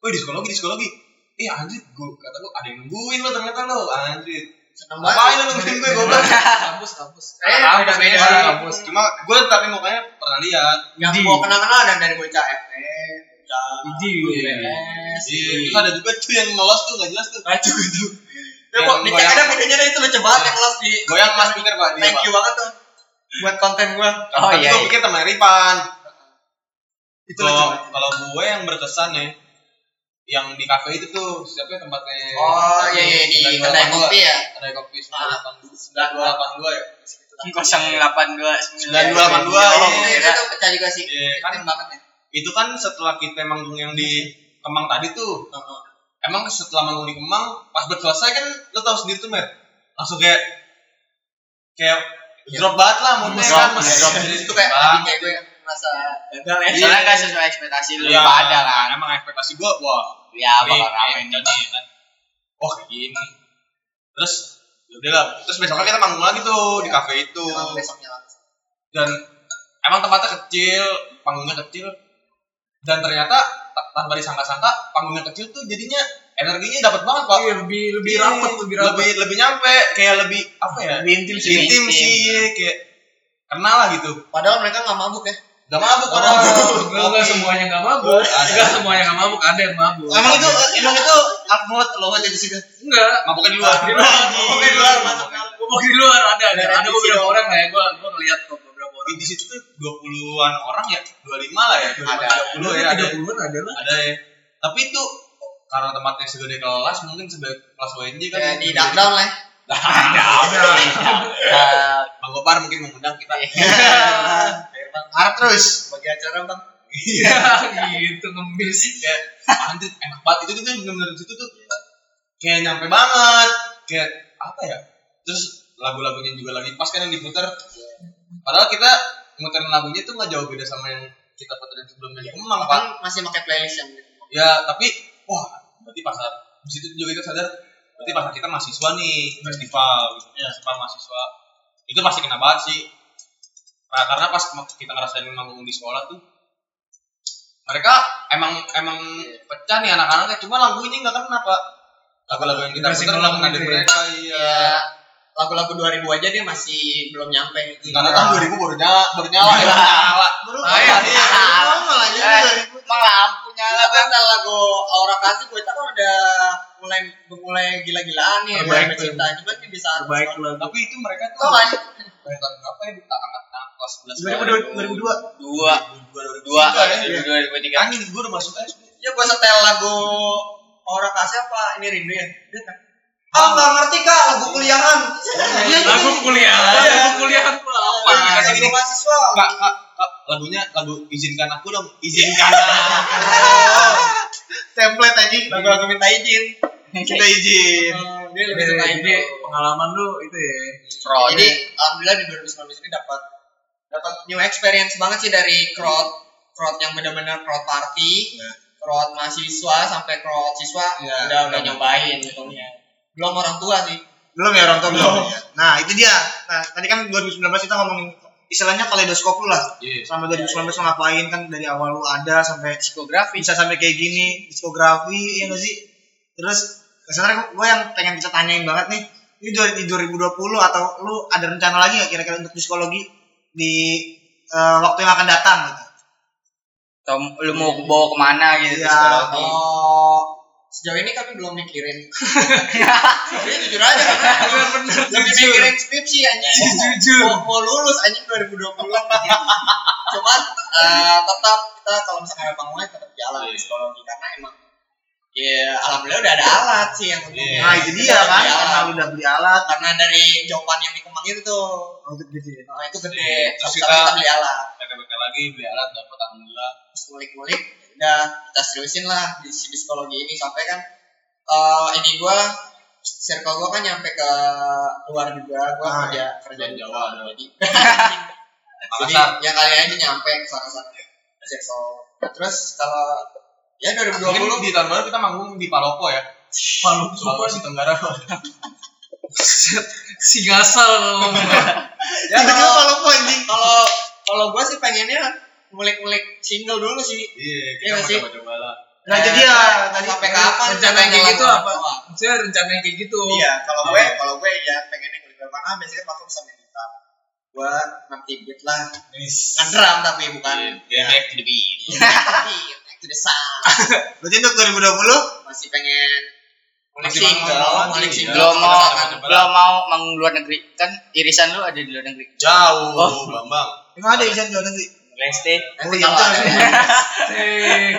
Speaker 3: wih di psikologi, di psikologi. Eh anjir, gue kata lu ada yang nungguin lo ternyata lo anjir.
Speaker 4: seneng
Speaker 3: Ngapain lo nungguin gue goblok?
Speaker 2: Kampus, kampus. Eh, beda beda.
Speaker 3: Orang kampus. Cuma gue tapi mukanya pernah lihat.
Speaker 4: yang
Speaker 2: Di.
Speaker 4: gue kenal kenal ada dari bocah FM bocah UPS
Speaker 3: Iya, terus ada juga tuh yang ngelos tuh nggak jelas tuh.
Speaker 2: Kacau itu.
Speaker 4: Ya,
Speaker 3: Yang
Speaker 4: kok dicek
Speaker 3: goyang-
Speaker 4: ada videonya deh itu lucu banget yang kelas di
Speaker 3: Goyang mas pikir pak dia
Speaker 4: thank
Speaker 3: pak.
Speaker 4: you banget tuh buat konten gua.
Speaker 9: Oh iya.
Speaker 3: Gue pikir teman Ripan.
Speaker 4: Itu lucu
Speaker 3: Kalau
Speaker 4: banget.
Speaker 3: kalau gue yang berkesan ya, yang di kafe itu tuh siapa ya tempatnya?
Speaker 4: Oh iya iya di kedai
Speaker 3: Dari delapan dua.
Speaker 4: kopi ya.
Speaker 3: Kedai kopi sembilan delapan sembilan dua delapan dua ya.
Speaker 4: Iya,
Speaker 3: 9282,
Speaker 9: 082
Speaker 3: iya.
Speaker 4: itu itu pecah juga sih.
Speaker 3: Iya, kan
Speaker 4: Keren banget ya.
Speaker 3: itu kan setelah kita manggung yang di Kemang tadi tuh. Emang setelah manggung di Kemang, pas buat selesai kan lo tau sendiri tuh Mer, langsung kayak kayak drop banget lah moodnya
Speaker 9: Drop,
Speaker 3: kan.
Speaker 9: iya, drop.
Speaker 3: Jadi
Speaker 4: Itu kayak
Speaker 3: Bang.
Speaker 4: tadi kayak gue merasa gagal ya.
Speaker 9: Eh, Soalnya nggak sesuai ekspektasi lu
Speaker 3: gitu. Iya.
Speaker 9: Pak, ada lah.
Speaker 3: Emang ekspektasi gue, wah
Speaker 9: Ya
Speaker 1: Iya.
Speaker 9: bakal
Speaker 3: rame
Speaker 9: rame.
Speaker 3: jadi kan oh kayak gini terus ya udah lah terus besoknya kita manggung lagi tuh
Speaker 9: Iya.
Speaker 3: di kafe itu
Speaker 4: Emang besoknya lah.
Speaker 3: dan emang tempatnya kecil panggungnya kecil dan ternyata ta- tanpa disangka-sangka panggungnya kecil tuh jadinya energinya dapat banget pak
Speaker 2: Iya, lebih lebih rapat, lebih rapat.
Speaker 3: lebih lebih nyampe kayak lebih apa ya
Speaker 2: Lebih intim sih.
Speaker 3: intim sih iya, kayak kenal lah gitu
Speaker 4: Padahal mereka nggak mabuk ya.
Speaker 3: gak mabuk pada
Speaker 2: Enggak enggak semuanya enggak Oh, mabuk. Enggak semuanya enggak mabuk, ada yang mabuk.
Speaker 3: emang itu emang itu
Speaker 4: Upload lo aja di situ.
Speaker 2: Enggak.
Speaker 3: mabuknya di luar
Speaker 2: Di luar. Mabuknya di luar,
Speaker 3: mabuknya di luar.
Speaker 2: Ngomong di luar ada ada
Speaker 4: Ada
Speaker 2: ada
Speaker 4: di
Speaker 2: beberapa
Speaker 4: situ.
Speaker 2: orang lah ya gua gua ngeliat kok beberapa orang.
Speaker 3: di situ tuh 20-an orang ya, 25 lah ya, ada 30 ya, ada,
Speaker 2: 30-an kan ada lah.
Speaker 3: ada ya. Tapi itu karena tempatnya segede kelas, mungkin segede kelas WNJ kan.
Speaker 4: Ya, Nah, di down lah.
Speaker 3: Nah, ada.
Speaker 9: Eh,
Speaker 3: Bang Gopar mungkin mengundang kita.
Speaker 2: Iya.
Speaker 4: Harap terus bagi acara bang.
Speaker 3: Iya.
Speaker 2: gitu ngemis.
Speaker 3: Kayak anjir enak banget. Itu tuh benar-benar di situ tuh kayak nyampe banget. Kayak apa ya? Terus lagu-lagunya juga lagi pas kan yang diputar. Padahal kita muterin lagunya tuh nggak jauh beda sama yang kita puterin sebelumnya. di Kemang, Pak.
Speaker 4: Bang masih pakai playlist yang gitu.
Speaker 3: ya tapi wah berarti pasar di situ juga kita sadar berarti pasar kita mahasiswa nih festival gitu ya
Speaker 9: Iya.
Speaker 3: festival mahasiswa itu pasti kena banget sih nah, karena pas kem- kita ngerasain manggung di sekolah tuh mereka emang emang pecah nih anak-anaknya cuma lagu ini nggak kena pak lagu-lagu yang kita
Speaker 2: Masih
Speaker 3: puter nggak
Speaker 2: ngelang
Speaker 3: kena di
Speaker 2: gitu ya.
Speaker 3: mereka iya
Speaker 4: Ya, lagu-lagu 2000 aja dia masih belum nyampe.
Speaker 3: karena kan 2000 baru nyala baru
Speaker 9: Iya.
Speaker 3: nyala ya nyala
Speaker 4: Baru
Speaker 2: Ah, iya.
Speaker 4: Iya, baru malah jadi
Speaker 9: Eh,
Speaker 4: 2000.
Speaker 9: Emang lampu nyala
Speaker 4: Kalau
Speaker 9: Bang.
Speaker 4: kan lagu Aura Kasih bocah kan udah mulai mulai gila-gilaan nih mulai
Speaker 2: Terbaik
Speaker 4: bercinta cuman dia bisa
Speaker 2: Terbaik
Speaker 9: Iya.
Speaker 2: lah.
Speaker 3: tapi itu mereka tuh
Speaker 4: Tau kan?
Speaker 3: dari tahun berapa ya kita angkat angkat kelas 11
Speaker 1: 2002.
Speaker 9: Dua. Dua. Dua ribu tiga.
Speaker 3: angin gue udah masuk aja
Speaker 4: Ya gua setel lagu Aura Kasih apa ini rindu ya? Dia kan, Ah nggak ngerti kak lagu kuliahan. Iya
Speaker 2: Lagu kuliah, lagu kuliah apa?
Speaker 4: apa?
Speaker 3: Kayak
Speaker 4: Lagu
Speaker 3: gini.
Speaker 4: mahasiswa.
Speaker 3: kak, kak, kak, lagunya lagu izinkan aku dong, izinkan.
Speaker 1: template aja
Speaker 4: lagu-lagu minta izin
Speaker 9: Oke.
Speaker 3: Kita izin.
Speaker 4: Iya, dia lebih
Speaker 2: Eh,
Speaker 4: suka
Speaker 2: jadi
Speaker 4: itu
Speaker 2: pengalaman lu itu ya
Speaker 9: Fraud.
Speaker 4: jadi alhamdulillah di 2019 ini dapat dapat new experience banget sih dari crowd crowd yang benar-benar crowd party crowd mahasiswa sampai crowd siswa
Speaker 1: Ya.
Speaker 4: udah udah nyobain sebetulnya belum orang tua sih
Speaker 1: belum ya orang tua belum ya. nah itu dia nah tadi kan 2019 kita ngomongin istilahnya kaleidoskop lu lah
Speaker 3: Iya.
Speaker 1: sama 2019 lu ngapain kan dari awal lu ada sampai
Speaker 9: Psikografi.
Speaker 1: bisa sampai kayak gini diskografi ya nggak sih terus sebenarnya gue yang pengen bisa tanyain banget nih ini dua- di 2020 atau lu ada rencana lagi nggak kira-kira untuk psikologi di eh, waktu yang akan datang gitu?
Speaker 9: Atau lu mau bawa kemana gitu
Speaker 1: Iya.
Speaker 9: psikologi.
Speaker 4: oh sejauh ini kami belum mikirin tapi jujur aja karena lebih mikirin skripsi anjing mau, mau lulus anjing 2020 cuman eh, tetap kita kalau misalnya ada panggungan tetap jalan
Speaker 3: Iya.
Speaker 4: di psikologi karena emang ya alhamdulillah udah ada alat sih yang untuk
Speaker 3: Iya.
Speaker 1: nah itu dia kan karena lu udah beli alat
Speaker 4: karena dari jawaban yang dikembang itu tuh
Speaker 1: untuk gitu ya
Speaker 4: nah, itu gede
Speaker 3: Iya. Terus
Speaker 4: terus
Speaker 3: kita-
Speaker 4: kita beli alat
Speaker 3: PTPT lagi beli alat dapat alhamdulillah.
Speaker 4: terus ngulik-ngulik ya udah kita seriusin lah di si psikologi ini sampai kan eh, ini gua circle gua kan nyampe ke luar juga gua
Speaker 1: Ah,
Speaker 4: kerja kerja di
Speaker 3: Jawa,
Speaker 4: Jawa jadi jadi
Speaker 3: Makassar.
Speaker 4: ya kali aja nyampe ke sana sana circle terus kalau ya 2020
Speaker 3: Mungkin di tahun baru kita manggung di Palopo ya. Palopo Sulawesi Tenggara. Iya,
Speaker 2: si ngasal ngomong.
Speaker 4: ya
Speaker 1: tiba-tiba
Speaker 4: kalau
Speaker 1: kalau gua anjing
Speaker 4: kalau kalau gua sih pengennya ngulik-ngulik single dulu sih
Speaker 3: Iya,
Speaker 4: Iya
Speaker 3: kita
Speaker 4: nggak
Speaker 3: mau
Speaker 4: sih?
Speaker 3: coba-coba lah.
Speaker 1: nah
Speaker 4: Eh,
Speaker 1: jadi ya
Speaker 4: cuman
Speaker 1: tadi
Speaker 4: sampai kapan
Speaker 2: rencana yang kayak gitu
Speaker 4: jalan
Speaker 2: apa?
Speaker 4: doang.
Speaker 2: Maksudnya rencana yang kayak gitu.
Speaker 4: Iya, kalau gue kalau gue ya pengennya kuliah drama ah biasanya pakai bisa main gitar. Gue nanti beat lah. Bukan drum tapi bukan Iya,
Speaker 3: Iya, back to the beat.
Speaker 4: tapi back to the sun.
Speaker 1: berarti untuk 2020
Speaker 4: Masih pengen ngulik
Speaker 3: Masih
Speaker 4: single,
Speaker 3: mau-
Speaker 4: ngulik
Speaker 3: iya.
Speaker 4: single.
Speaker 9: Belum
Speaker 3: Kita
Speaker 9: mau
Speaker 3: sama coba.
Speaker 9: belum mau manggung luar negeri. Kan irisan lu ada di luar negeri.
Speaker 3: Jauh,
Speaker 9: Oh.
Speaker 3: Bambang.
Speaker 1: emang ada izin jualan sih
Speaker 9: Leste.
Speaker 1: oh
Speaker 4: Nanti
Speaker 1: iya
Speaker 4: kalau ada-
Speaker 1: betul.
Speaker 2: Eh,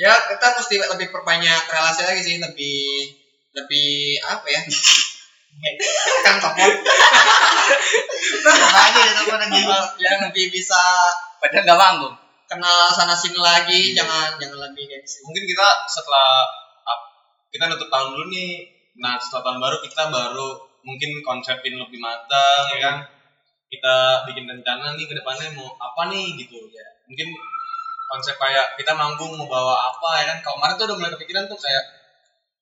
Speaker 4: Ya, kita mesti lebih perbanyak relasi lagi sih, lebih lebih apa ya? kan telepon
Speaker 1: Coba aja ya teman anjing
Speaker 4: ya lebih bisa
Speaker 9: Padahal enggak manggung.
Speaker 4: kenal sana sini lagi jangan jangan lebih kayak gitu
Speaker 3: Mungkin kita setelah up- kita nutup tahun dulu nih. Nah, setelah tahun baru kita baru mungkin konsepin lebih matang ya kan. Kita bikin rencana nih ke depannya mau apa nih gitu ya. Mungkin konsep kayak kita manggung mau bawa apa ya kan. Kalau kemarin tuh udah mulai kepikiran tuh kayak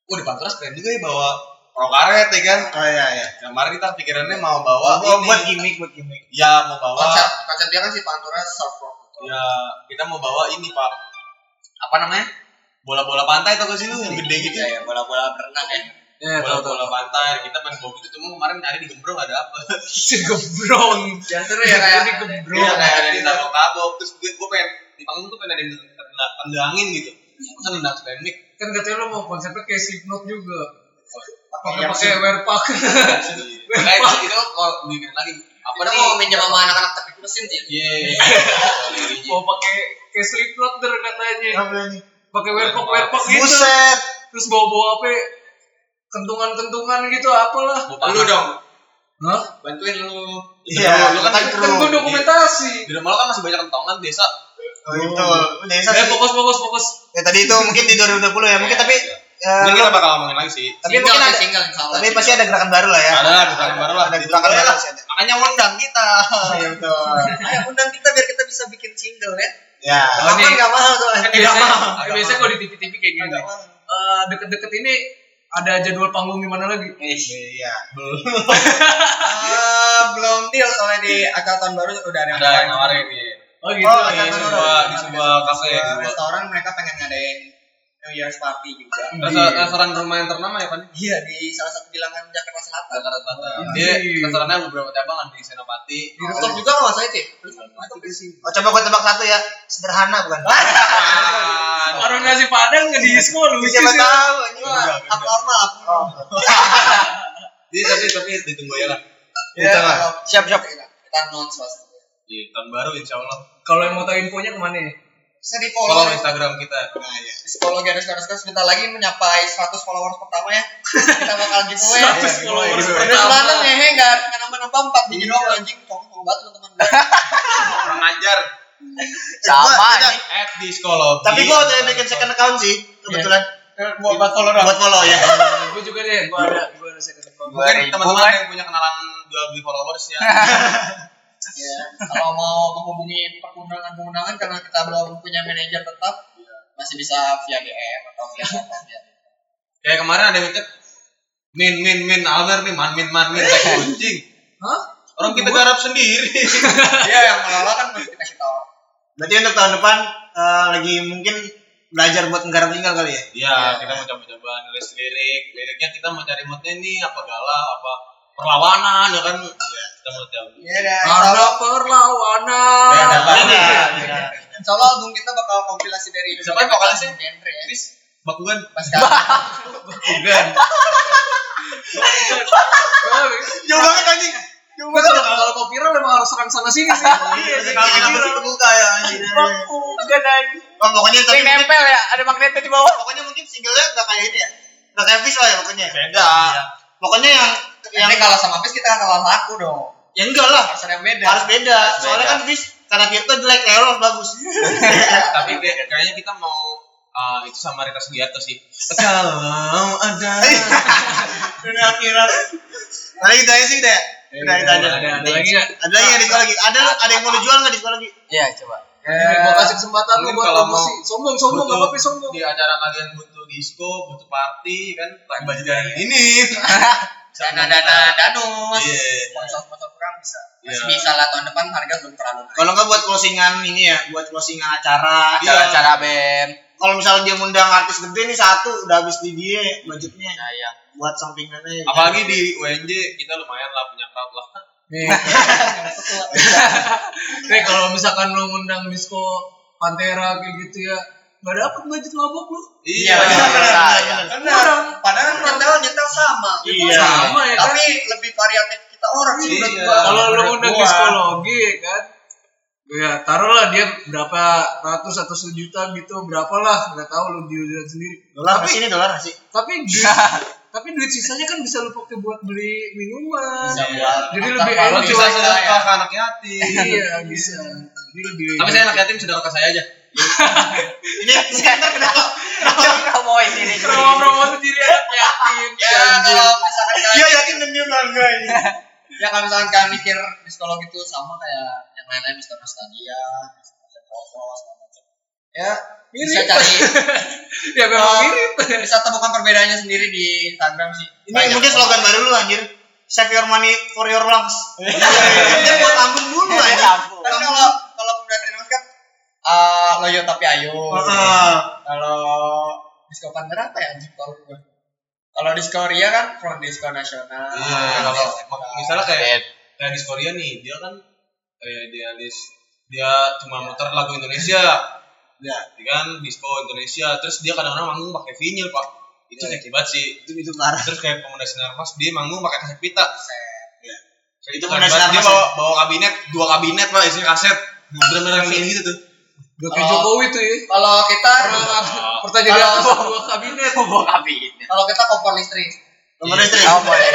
Speaker 3: Wah di Panturas keren juga ya bawa prokaret ya kan.
Speaker 1: oh iya iya
Speaker 3: Kemarin kita pikirannya mau bawa
Speaker 1: oh,
Speaker 3: ini.
Speaker 1: buat gimmick buat gimmick
Speaker 3: Ya mau bawa
Speaker 4: konsep konsep dia kan si Pantura soft rock
Speaker 3: ya kita mau bawa ini pak apa namanya bola-bola pantai tau gak sih lu yang gede gitu ya bola-bola berenang ya
Speaker 2: ya tahu tahu.
Speaker 3: bola-bola pantai kita pengen bawa gitu cuma kemarin nyari di Gembrong ada apa
Speaker 2: Gebrong.
Speaker 4: ya seru ya kayak
Speaker 2: Jadi
Speaker 3: Iya,
Speaker 2: gebrong.
Speaker 4: Iya,
Speaker 3: kayak ada
Speaker 4: iya.
Speaker 3: di tabok-tabok terus gue gue pengen di panggung tuh pengen ada yang tendang- tendangin gitu masa nendang stand mic
Speaker 2: Kan katanya lu mau konsepnya kayak Slipknot juga. Pakai
Speaker 4: yang
Speaker 2: pakai wear pack.
Speaker 3: kayak Iya, Nah, itu itu mau mikir lagi apa
Speaker 4: Padahal
Speaker 3: nih
Speaker 4: mau minjem sama anak-anak teknik mesin sih.
Speaker 3: iya
Speaker 2: Mau pakai kayak Slipknot der katanya.
Speaker 3: Iya.
Speaker 1: Nggak boleh nih.
Speaker 2: Pakai wear pack wear
Speaker 1: Oh,
Speaker 2: pack gitu.
Speaker 1: buset
Speaker 2: Terus bawa-bawa apa? ya? Kentungan-kentungan gitu apalah.
Speaker 3: lu dong
Speaker 2: Hah?
Speaker 4: Bantuin lu.
Speaker 1: Iya, lu
Speaker 3: lu kan
Speaker 1: kan
Speaker 3: tadi
Speaker 2: Kan gua dokumentasi.
Speaker 3: di rumah lo kan masih banyak kentongan desa
Speaker 1: Oh, betul.
Speaker 3: Iya.
Speaker 1: Desa
Speaker 2: Ya
Speaker 1: sih.
Speaker 2: fokus fokus fokus.
Speaker 1: Ya tadi itu mungkin di 2020 ya, mungkin tapi eh,
Speaker 3: Iya, mungkin
Speaker 1: lu-
Speaker 3: kita bakal ngomongin lagi sih
Speaker 1: tapi mungkin ada
Speaker 4: single insya Allah.
Speaker 1: tapi pasti ada gerakan baru lah ya.
Speaker 3: Ada lah, gerakan baru lah. Iya.
Speaker 1: Ada gerakan
Speaker 3: Boleh
Speaker 1: baru
Speaker 3: lah.
Speaker 1: pasti ada.
Speaker 3: makanya undang kita
Speaker 1: Iya betul.
Speaker 4: Ayo undang kita biar kita bisa bikin single ya.
Speaker 1: Ya.
Speaker 2: Oh, nih.
Speaker 1: Rekaman enggak mahal soalnya.
Speaker 2: Kan biasanya,
Speaker 1: mahal.
Speaker 2: kan biasanya kalau di TV-TV kayak gini. Eh, deket-deket ini ada jadwal panggung di mana lagi?
Speaker 1: Iya.
Speaker 4: Ah, belum deal soalnya di acara tahun baru udah ada.
Speaker 3: ada yang nawarin ya
Speaker 2: Oh gitu.
Speaker 1: Oh,
Speaker 3: di
Speaker 1: ada
Speaker 2: Iya.
Speaker 3: sebuah di sebuah kafe ya
Speaker 4: Sebuah restoran mereka pengen ngadain New Year's party juga.
Speaker 3: restoran restoran rumah yang ternama ya pan
Speaker 4: Iya di salah satu bilangan Jakarta Selatan.
Speaker 3: Jakarta Selatan dia restorannya beberapa cabang ada di Senopati
Speaker 4: Di rooftop juga kalau nggak salah itu. ya? Rooftop di sini.
Speaker 1: Oh, coba gua tebak satu ya. Sederhana bukan?
Speaker 3: Ah,
Speaker 2: Orang nasi padang nggak di semua lucu
Speaker 1: Siapa
Speaker 2: sih.
Speaker 1: tahu ini
Speaker 4: Wah, abnormal.
Speaker 1: Oh.
Speaker 3: jadi tapi iya, tapi ditunggu ya lah
Speaker 1: Ya,
Speaker 4: Iya,
Speaker 1: jangan.
Speaker 4: kalau- siap-siap. Kita non swasta.
Speaker 3: di tahun baru insya Allah
Speaker 2: Kalau yang mau tahu infonya kemana ya?
Speaker 4: Bisa di
Speaker 3: follow
Speaker 4: follow
Speaker 3: Instagram kita
Speaker 4: psikologi garis garis garis sebentar lagi menyapai 100 followers pertama ya kita bakal giveaway ya,
Speaker 2: 100 followers
Speaker 4: udah
Speaker 2: pertama.
Speaker 4: selalu ngehe nggak nggak nambah nambah empat biji doang anjing tolong tolong banget teman-teman
Speaker 3: kurang ajar
Speaker 9: Sama
Speaker 1: Kita-
Speaker 9: nih.
Speaker 3: At diskologi.
Speaker 1: Eh, Tapi gua udah bikin second account sih kebetulan
Speaker 3: Eh, buat Iya. buat follow doang.
Speaker 1: buat follow ya.
Speaker 2: gue Nah, juga deh gue ada gue ada second account
Speaker 3: Mungkin
Speaker 9: ribu
Speaker 3: teman-teman
Speaker 9: kan?
Speaker 3: yang punya kenalan jual beli followers ya.
Speaker 4: Iya. Kalau mau menghubungi perundangan-perundangan karena kita belum punya manajer tetap, masih bisa via DM atau via kan, ya. apa via.
Speaker 3: Kayak kemarin ada yang minta min min min Almer nih man min man min kayak kucing.
Speaker 2: Hah?
Speaker 3: Orang kita garap sendiri.
Speaker 4: Iya, yang mengelola kan masih kita kita.
Speaker 1: Berarti untuk tahun depan eh, lagi mungkin belajar buat negara tinggal kali ya.
Speaker 3: Iya, kita mau coba-coba nulis lirik. Liriknya kita mau cari moodnya nih apa galau apa perlawanan ya kan. Iya, kita mau coba.
Speaker 4: Iya dah. Insya
Speaker 2: ada
Speaker 4: Allah,
Speaker 1: Oh,
Speaker 2: perlawanan
Speaker 3: Ya, ada
Speaker 1: Ini,
Speaker 3: apa?
Speaker 1: ya.
Speaker 4: insya Allah album kita bakal kompilasi dari
Speaker 3: Siapa yang vokalisnya?
Speaker 4: genre ya.
Speaker 3: Chris Bakugan.
Speaker 4: Pas kali.
Speaker 3: Bakugan.
Speaker 1: Jauh banget anjing.
Speaker 2: Cuma kalau kalau mau viral memang harus serang sana sini sih. Iya,
Speaker 1: Kenapa sih kebuka ya anjing.
Speaker 9: Bukan anjing.
Speaker 1: Oh, pokoknya tapi
Speaker 9: Yang nempel ya, ada magnetnya di bawah.
Speaker 1: pokoknya mungkin singlenya nggak kayak ini ya. Nggak kayak Fis lah ya pokoknya.
Speaker 3: Beda.
Speaker 1: Pokoknya yang yang
Speaker 4: Nanti kalau sama Fis kita kalah laku dong.
Speaker 1: ya enggak lah.
Speaker 4: Harus ada yang beda.
Speaker 1: Harus beda.
Speaker 3: Harus
Speaker 1: Soalnya
Speaker 3: beda.
Speaker 1: kan Fis karena Tirta jelek, Lero bagus.
Speaker 3: Tapi kayak- kayaknya kita mau ah, itu sama Rita Sugiyato sih. Kalau ada.
Speaker 1: Dunia akhirat. Ada kita aja sih deh. Udah itu aja.
Speaker 2: Ada ada lagi nggak?
Speaker 1: Iya, Ada lagi nggak di sekolah lagi? Ada ada yang mau dijual nggak di sekolah lagi?
Speaker 9: Iya, coba.
Speaker 2: Gue kasih kesempatan lu
Speaker 3: Mungkin
Speaker 2: buat
Speaker 3: kalau
Speaker 2: promosi.
Speaker 3: mau-
Speaker 2: Sombong sombong nggak
Speaker 3: butuh-
Speaker 2: apa-apa sombong.
Speaker 3: di acara kalian butuh disco, butuh party kan, pakai baju dari ini.
Speaker 4: Dana dana danus.
Speaker 3: Iya.
Speaker 4: Sponsor-sponsor kurang bisa. Masih
Speaker 3: Iya.
Speaker 4: bisa lah tahun depan harga belum terlalu. naik.
Speaker 1: Kalau nggak buat closingan ini ya, buat closingan acara.
Speaker 3: Iya.
Speaker 9: Acara-acara BEM.
Speaker 1: Kalau misalnya dia ngundang artis gede nih satu udah habis di dia budgetnya
Speaker 9: Sayang.
Speaker 1: buat sampingannya.
Speaker 3: Apalagi di UNJ kita lumayan lah punya crowd lah. Iya.
Speaker 2: Nih. Nih Eh, kalau misalkan lu ngundang disco Pantera kayak gitu ya, nggak dapet budget mabok lu.
Speaker 3: Iya.
Speaker 9: Sayang.
Speaker 4: Benar.
Speaker 1: Kan
Speaker 4: Padahal nyetel nyetel sama.
Speaker 1: Iya.
Speaker 2: Sama ya kan.
Speaker 4: Tapi lebih variatif kita orang sih
Speaker 3: Iya.
Speaker 4: menurut gua.
Speaker 2: Kalau lu
Speaker 3: Menurut
Speaker 2: ngundang
Speaker 3: gua.
Speaker 2: diskologi ya kan. Ya, taruhlah dia berapa ratus atau sejuta gitu, berapa lah, nggak tahu lu diujian sendiri.
Speaker 1: Dolar
Speaker 3: ya?
Speaker 2: Tapi-
Speaker 1: sih ini dolar sih.
Speaker 2: tapi duit tapi duit sisanya kan bisa lu pakai buat beli minuman
Speaker 3: Bisa buat
Speaker 2: jadi lebih
Speaker 3: Kalau
Speaker 2: enak
Speaker 3: Iya. bisa
Speaker 2: coy.
Speaker 3: sudah ke anak yatim.
Speaker 2: iya bisa jadi lebih
Speaker 3: Tapi saya anak yatim sudah ke saya aja.
Speaker 1: Ini sekitar kenapa?
Speaker 9: Promoin diri.
Speaker 2: promo promo sendiri anak yatim
Speaker 4: Ya kalau misalkan kalian
Speaker 1: Dia Iya, yakin dan dia bangga ini.
Speaker 4: ya kalau misalkan kalian mikir psikolog itu sama kayak yang lain-lain Mr. Nostalgia, Mr. Popo, segala macam. Ya, bisa
Speaker 2: Mirip.
Speaker 4: cari
Speaker 2: ya memang
Speaker 4: Oh.
Speaker 2: mirip
Speaker 4: bisa temukan perbedaannya sendiri di Instagram sih.
Speaker 1: Ini mungkin slogan baru lu anjir. Save your money for your lungs. Ini buat lambung dulu
Speaker 9: Sayang.
Speaker 1: anjir.
Speaker 9: Ampun.
Speaker 4: Kan kalau kalau pemberian terima kasih kan eh, loyo tapi ayo.
Speaker 3: Ah.
Speaker 1: Heeh.
Speaker 3: Iya.
Speaker 4: Kalau diskon Panther apa ya anjing kalau gua? Kalau di Korea kan front diskon nasional.
Speaker 3: Iya, kalau misalnya kayak
Speaker 9: Bed.
Speaker 3: kayak di Korea nih, dia kan kayak idealis. Dia cuma muter lagu Indonesia. Ya, dia kan disco Indonesia. Terus dia kadang-kadang manggung pakai vinyl, Pak. Itu sakit banget sih.
Speaker 1: Iya. Itu itu parah.
Speaker 3: Terus kayak pemuda sinar mas, dia manggung pakai kaset pita. Kayak
Speaker 1: Itu ya?
Speaker 3: itu
Speaker 1: pemuda
Speaker 3: pemuda
Speaker 1: sinar
Speaker 3: Dia
Speaker 1: mas,
Speaker 3: bawa, bawa kabinet, dua kabinet pak isinya kaset. Bener-bener yang kayak gitu tuh.
Speaker 2: udah kayak
Speaker 4: Oh.
Speaker 2: Jokowi tuh ya
Speaker 4: Kalau kita
Speaker 2: pernah jadi
Speaker 4: Kalau-
Speaker 2: atasan dua kabinet
Speaker 9: Bawa kabin.
Speaker 4: kalau kita kompor listrik.
Speaker 1: Nomor
Speaker 3: Iya.
Speaker 1: istri.
Speaker 9: Kamu boleh.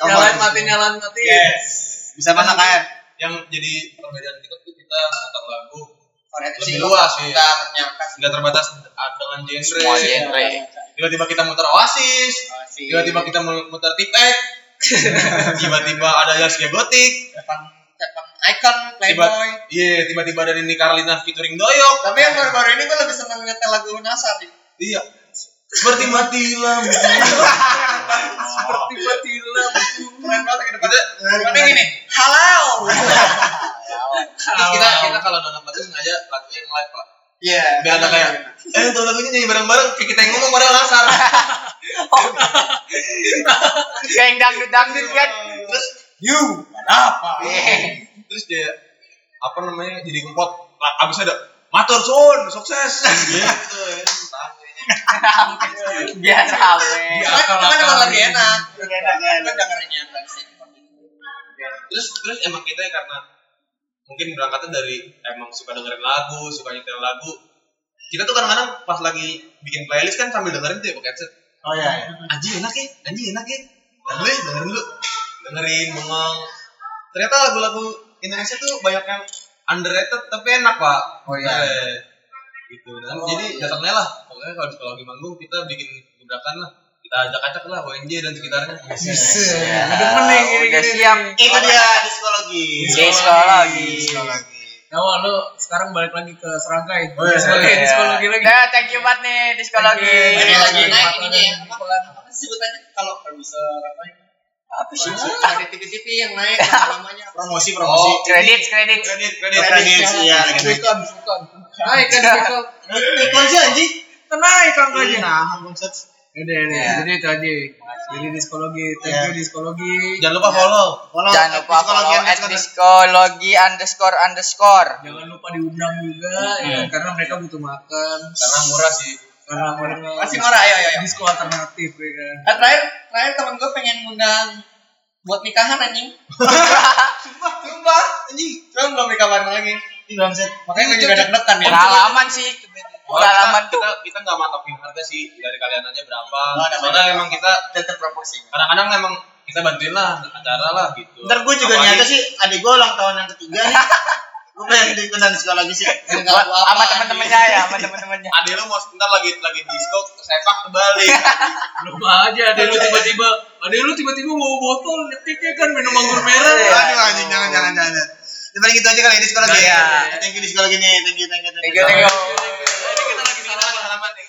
Speaker 1: Kamu
Speaker 2: nyalain mati nyalain mati
Speaker 1: bisa masak air.
Speaker 3: Yang jadi perbedaan kita tuh kita tentang lagu
Speaker 4: Variatif
Speaker 3: lebih
Speaker 4: sih.
Speaker 3: luas sih.
Speaker 4: Kita menyangka
Speaker 3: Nggak terbatas dengan genre.
Speaker 9: Semua genre.
Speaker 3: Tiba-tiba kita muter Oasis. Tiba-tiba kita muter Tipek. tiba-tiba ada Yasya Gotik.
Speaker 4: depan depan icon
Speaker 3: Tiba-
Speaker 4: Playboy.
Speaker 3: Iya, tiba-tiba ada Nini Carlina featuring Doyok.
Speaker 4: Tapi yang baru-baru ini gue lebih seneng nyetel lagu Nasar sih.
Speaker 3: Iya. Seperti mati lampu.
Speaker 2: seperti mati lampu
Speaker 4: Keren banget ke depan.
Speaker 3: Kita
Speaker 4: Tapi gini, halau.
Speaker 3: Terus Ya, kita kita kalau download lagu sengaja lagunya yang live pak.
Speaker 4: Iya.
Speaker 3: Biar ada kayak eh tuh lagunya nyanyi bareng-bareng kayak kita yang ngomong pada lasar.
Speaker 9: Oh. Kayak yang dangdut-dangdut kan.
Speaker 3: Terus
Speaker 1: You.
Speaker 3: apa? Terus dia apa namanya jadi ngempot. Lah, Abis ada matur sun sukses. Gitu ya.
Speaker 9: Biasa
Speaker 4: Cuman-
Speaker 9: awe.
Speaker 4: Cuman emang lebih kan
Speaker 2: Iya.
Speaker 4: enak. Lebih enak. Gue dengerin yang lain sih.
Speaker 3: Terus terus emang kita ya karena mungkin berangkatnya dari emang suka dengerin lagu, suka nyetel lagu. Kita tuh kadang-kadang pas lagi bikin playlist kan sambil dengerin tuh ya pakai headset.
Speaker 1: Oh iya.
Speaker 3: anjing enak ya, anjing enak ya. Dengerin dulu, ya, dengerin dulu. Dengerin, bengong. Ternyata lagu-lagu Indonesia tuh banyak yang underrated tapi enak pak
Speaker 9: Oh iya.
Speaker 3: Eh, gitu nah,
Speaker 1: Oh.
Speaker 3: jadi datangnya lah pokoknya kalau di kalau di manggung kita bikin gebrakan lah kita ajak-ajak lah ONJ dan sekitarnya Iya.
Speaker 9: Ya,
Speaker 2: Udah mending ini
Speaker 9: udah
Speaker 2: gini.
Speaker 9: siap.
Speaker 4: Itu dia diskologi.
Speaker 9: Diskologi.
Speaker 2: Nah, lu sekarang balik lagi ke Serangkai.
Speaker 1: Oh, iya,
Speaker 2: Serangkai,
Speaker 3: iya.
Speaker 2: diskologi lagi.
Speaker 9: Nah, thank you banget nih
Speaker 2: Thank
Speaker 9: diskologi.
Speaker 2: you.
Speaker 9: Ini Iya, lagi naik
Speaker 5: ininya ya.
Speaker 9: apa?
Speaker 5: Apa sih sebutannya kalau kalau bisa apa ya?
Speaker 9: Apa sih?
Speaker 5: Dari TV-TV yang naik namanya apa?
Speaker 1: Promosi promosi.
Speaker 9: Oh, Kredit, kredit.
Speaker 3: kredit kredit
Speaker 1: Kredit iya kredit.
Speaker 5: Bukan, bukan. Naik kan itu.
Speaker 4: Iklan sih
Speaker 1: iya.
Speaker 4: anjing.
Speaker 2: Tenang, angkanya.
Speaker 1: Nah, bangsat.
Speaker 2: Udah, Iya. udah. Jadi itu aja. Jadi diskologi, thank you diskologi.
Speaker 3: jangan lupa follow
Speaker 1: Iya. Follow
Speaker 9: Jangan lupa follow at diskologi underscore underscore.
Speaker 2: Jangan lupa diundang juga ya, karena mereka butuh makan.
Speaker 3: karena murah sih
Speaker 1: Iya.
Speaker 2: Karena mereka
Speaker 5: Masih marah ayo ayo. ayo.
Speaker 2: disko alternatif ya kan.
Speaker 4: Eh,
Speaker 5: Ah, terakhir terakhir teman gue pengen ngundang buat nikahan anjing. sumpah, sumpah. Anjing, cuma belum dikabarin lagi.
Speaker 1: Ih, bangsat.
Speaker 5: Makanya gue juga deg-degan ya.
Speaker 9: Pengalaman sih. Pengalaman
Speaker 3: Soalnya
Speaker 9: tuh.
Speaker 3: kita kita nggak matokin harga sih dari kalian aja berapa
Speaker 5: ada
Speaker 3: soalnya emang kita
Speaker 9: Tetap promosi.
Speaker 3: kadang-kadang emang kita bantuin lah acara lah gitu
Speaker 1: Ntar gue juga
Speaker 3: Apalagi-
Speaker 1: nyata sih adik gue ulang tahun yang ketiga nih. gue pengen diundang diskologi sih.
Speaker 9: Buat- Sama teman-teman saya, sama teman-temannya.
Speaker 3: Ade lu mau sebentar lagi lagi disco kesepak kebalik.
Speaker 2: Belum aja ada lu tiba-tiba, ada lu tiba-tiba bawa botol nyetiknya kan minum anggur merah.
Speaker 9: Iya.
Speaker 1: Aduh anjing jangan jangan jangan. Ya, paling gitu aja kali ya diskologi.
Speaker 9: Iya.
Speaker 1: Thank you diskologi nih. Thank you thank you.
Speaker 9: Thank you, thank you.
Speaker 3: Ini kita lagi bikin apa? Salaman nih.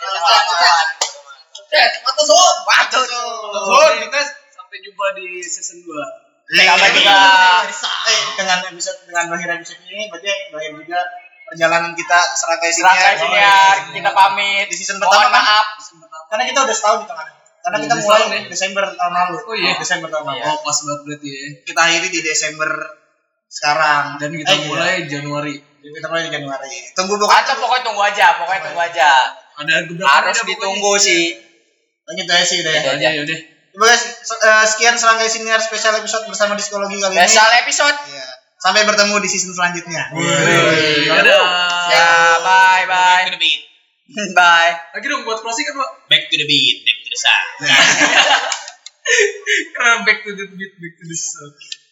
Speaker 5: Cet, mata sob.
Speaker 1: Bacot. Oh,
Speaker 3: Zon, kita
Speaker 2: Sampai jumpa di season 2.
Speaker 9: Sama juga.
Speaker 1: Eh, dengan episode dengan akhir episode ini berarti akhir juga perjalanan kita serangkai sini.
Speaker 9: Serangkai sini ya, kita pamit.
Speaker 1: Di season
Speaker 9: Mohon
Speaker 1: pertama kan?
Speaker 9: maaf.
Speaker 1: Karena kita udah setahun di tengah. Karena kita
Speaker 2: Udah
Speaker 1: mulai
Speaker 2: setahun ya?
Speaker 1: Desember tahun lalu.
Speaker 2: Oh iya.
Speaker 1: Desember tahun lalu.
Speaker 2: Oh, pas banget berarti ya.
Speaker 1: Kita akhiri di Desember sekarang
Speaker 2: Dan kita
Speaker 1: Eh, iya.
Speaker 2: mulai Januari.
Speaker 1: kita mulai di Januari. Tunggu pokoknya.
Speaker 9: Atau pokoknya tunggu aja, pokoknya tunggu aja.
Speaker 2: Ada gebrakan
Speaker 9: Harus
Speaker 2: ada pokoknya. Iya,
Speaker 9: ditunggu sih. Iya,
Speaker 1: Lanjut aja sih deh.
Speaker 2: Itu aja yaudah.
Speaker 1: Terima kasih. Se- eh, Sekian serangkai senior special episode bersama diskologi kali ini.
Speaker 9: Special episode.
Speaker 1: Iya. Sampai bertemu di season selanjutnya.
Speaker 2: Iya, Dadah.
Speaker 9: Ya, bye
Speaker 3: back to
Speaker 9: bye.
Speaker 3: the beat.
Speaker 9: Bye.
Speaker 2: Lagi dong buat closing kan, Pak.
Speaker 3: Back to the beat. Back to the sound.
Speaker 2: Keren back to the beat, back to the sound.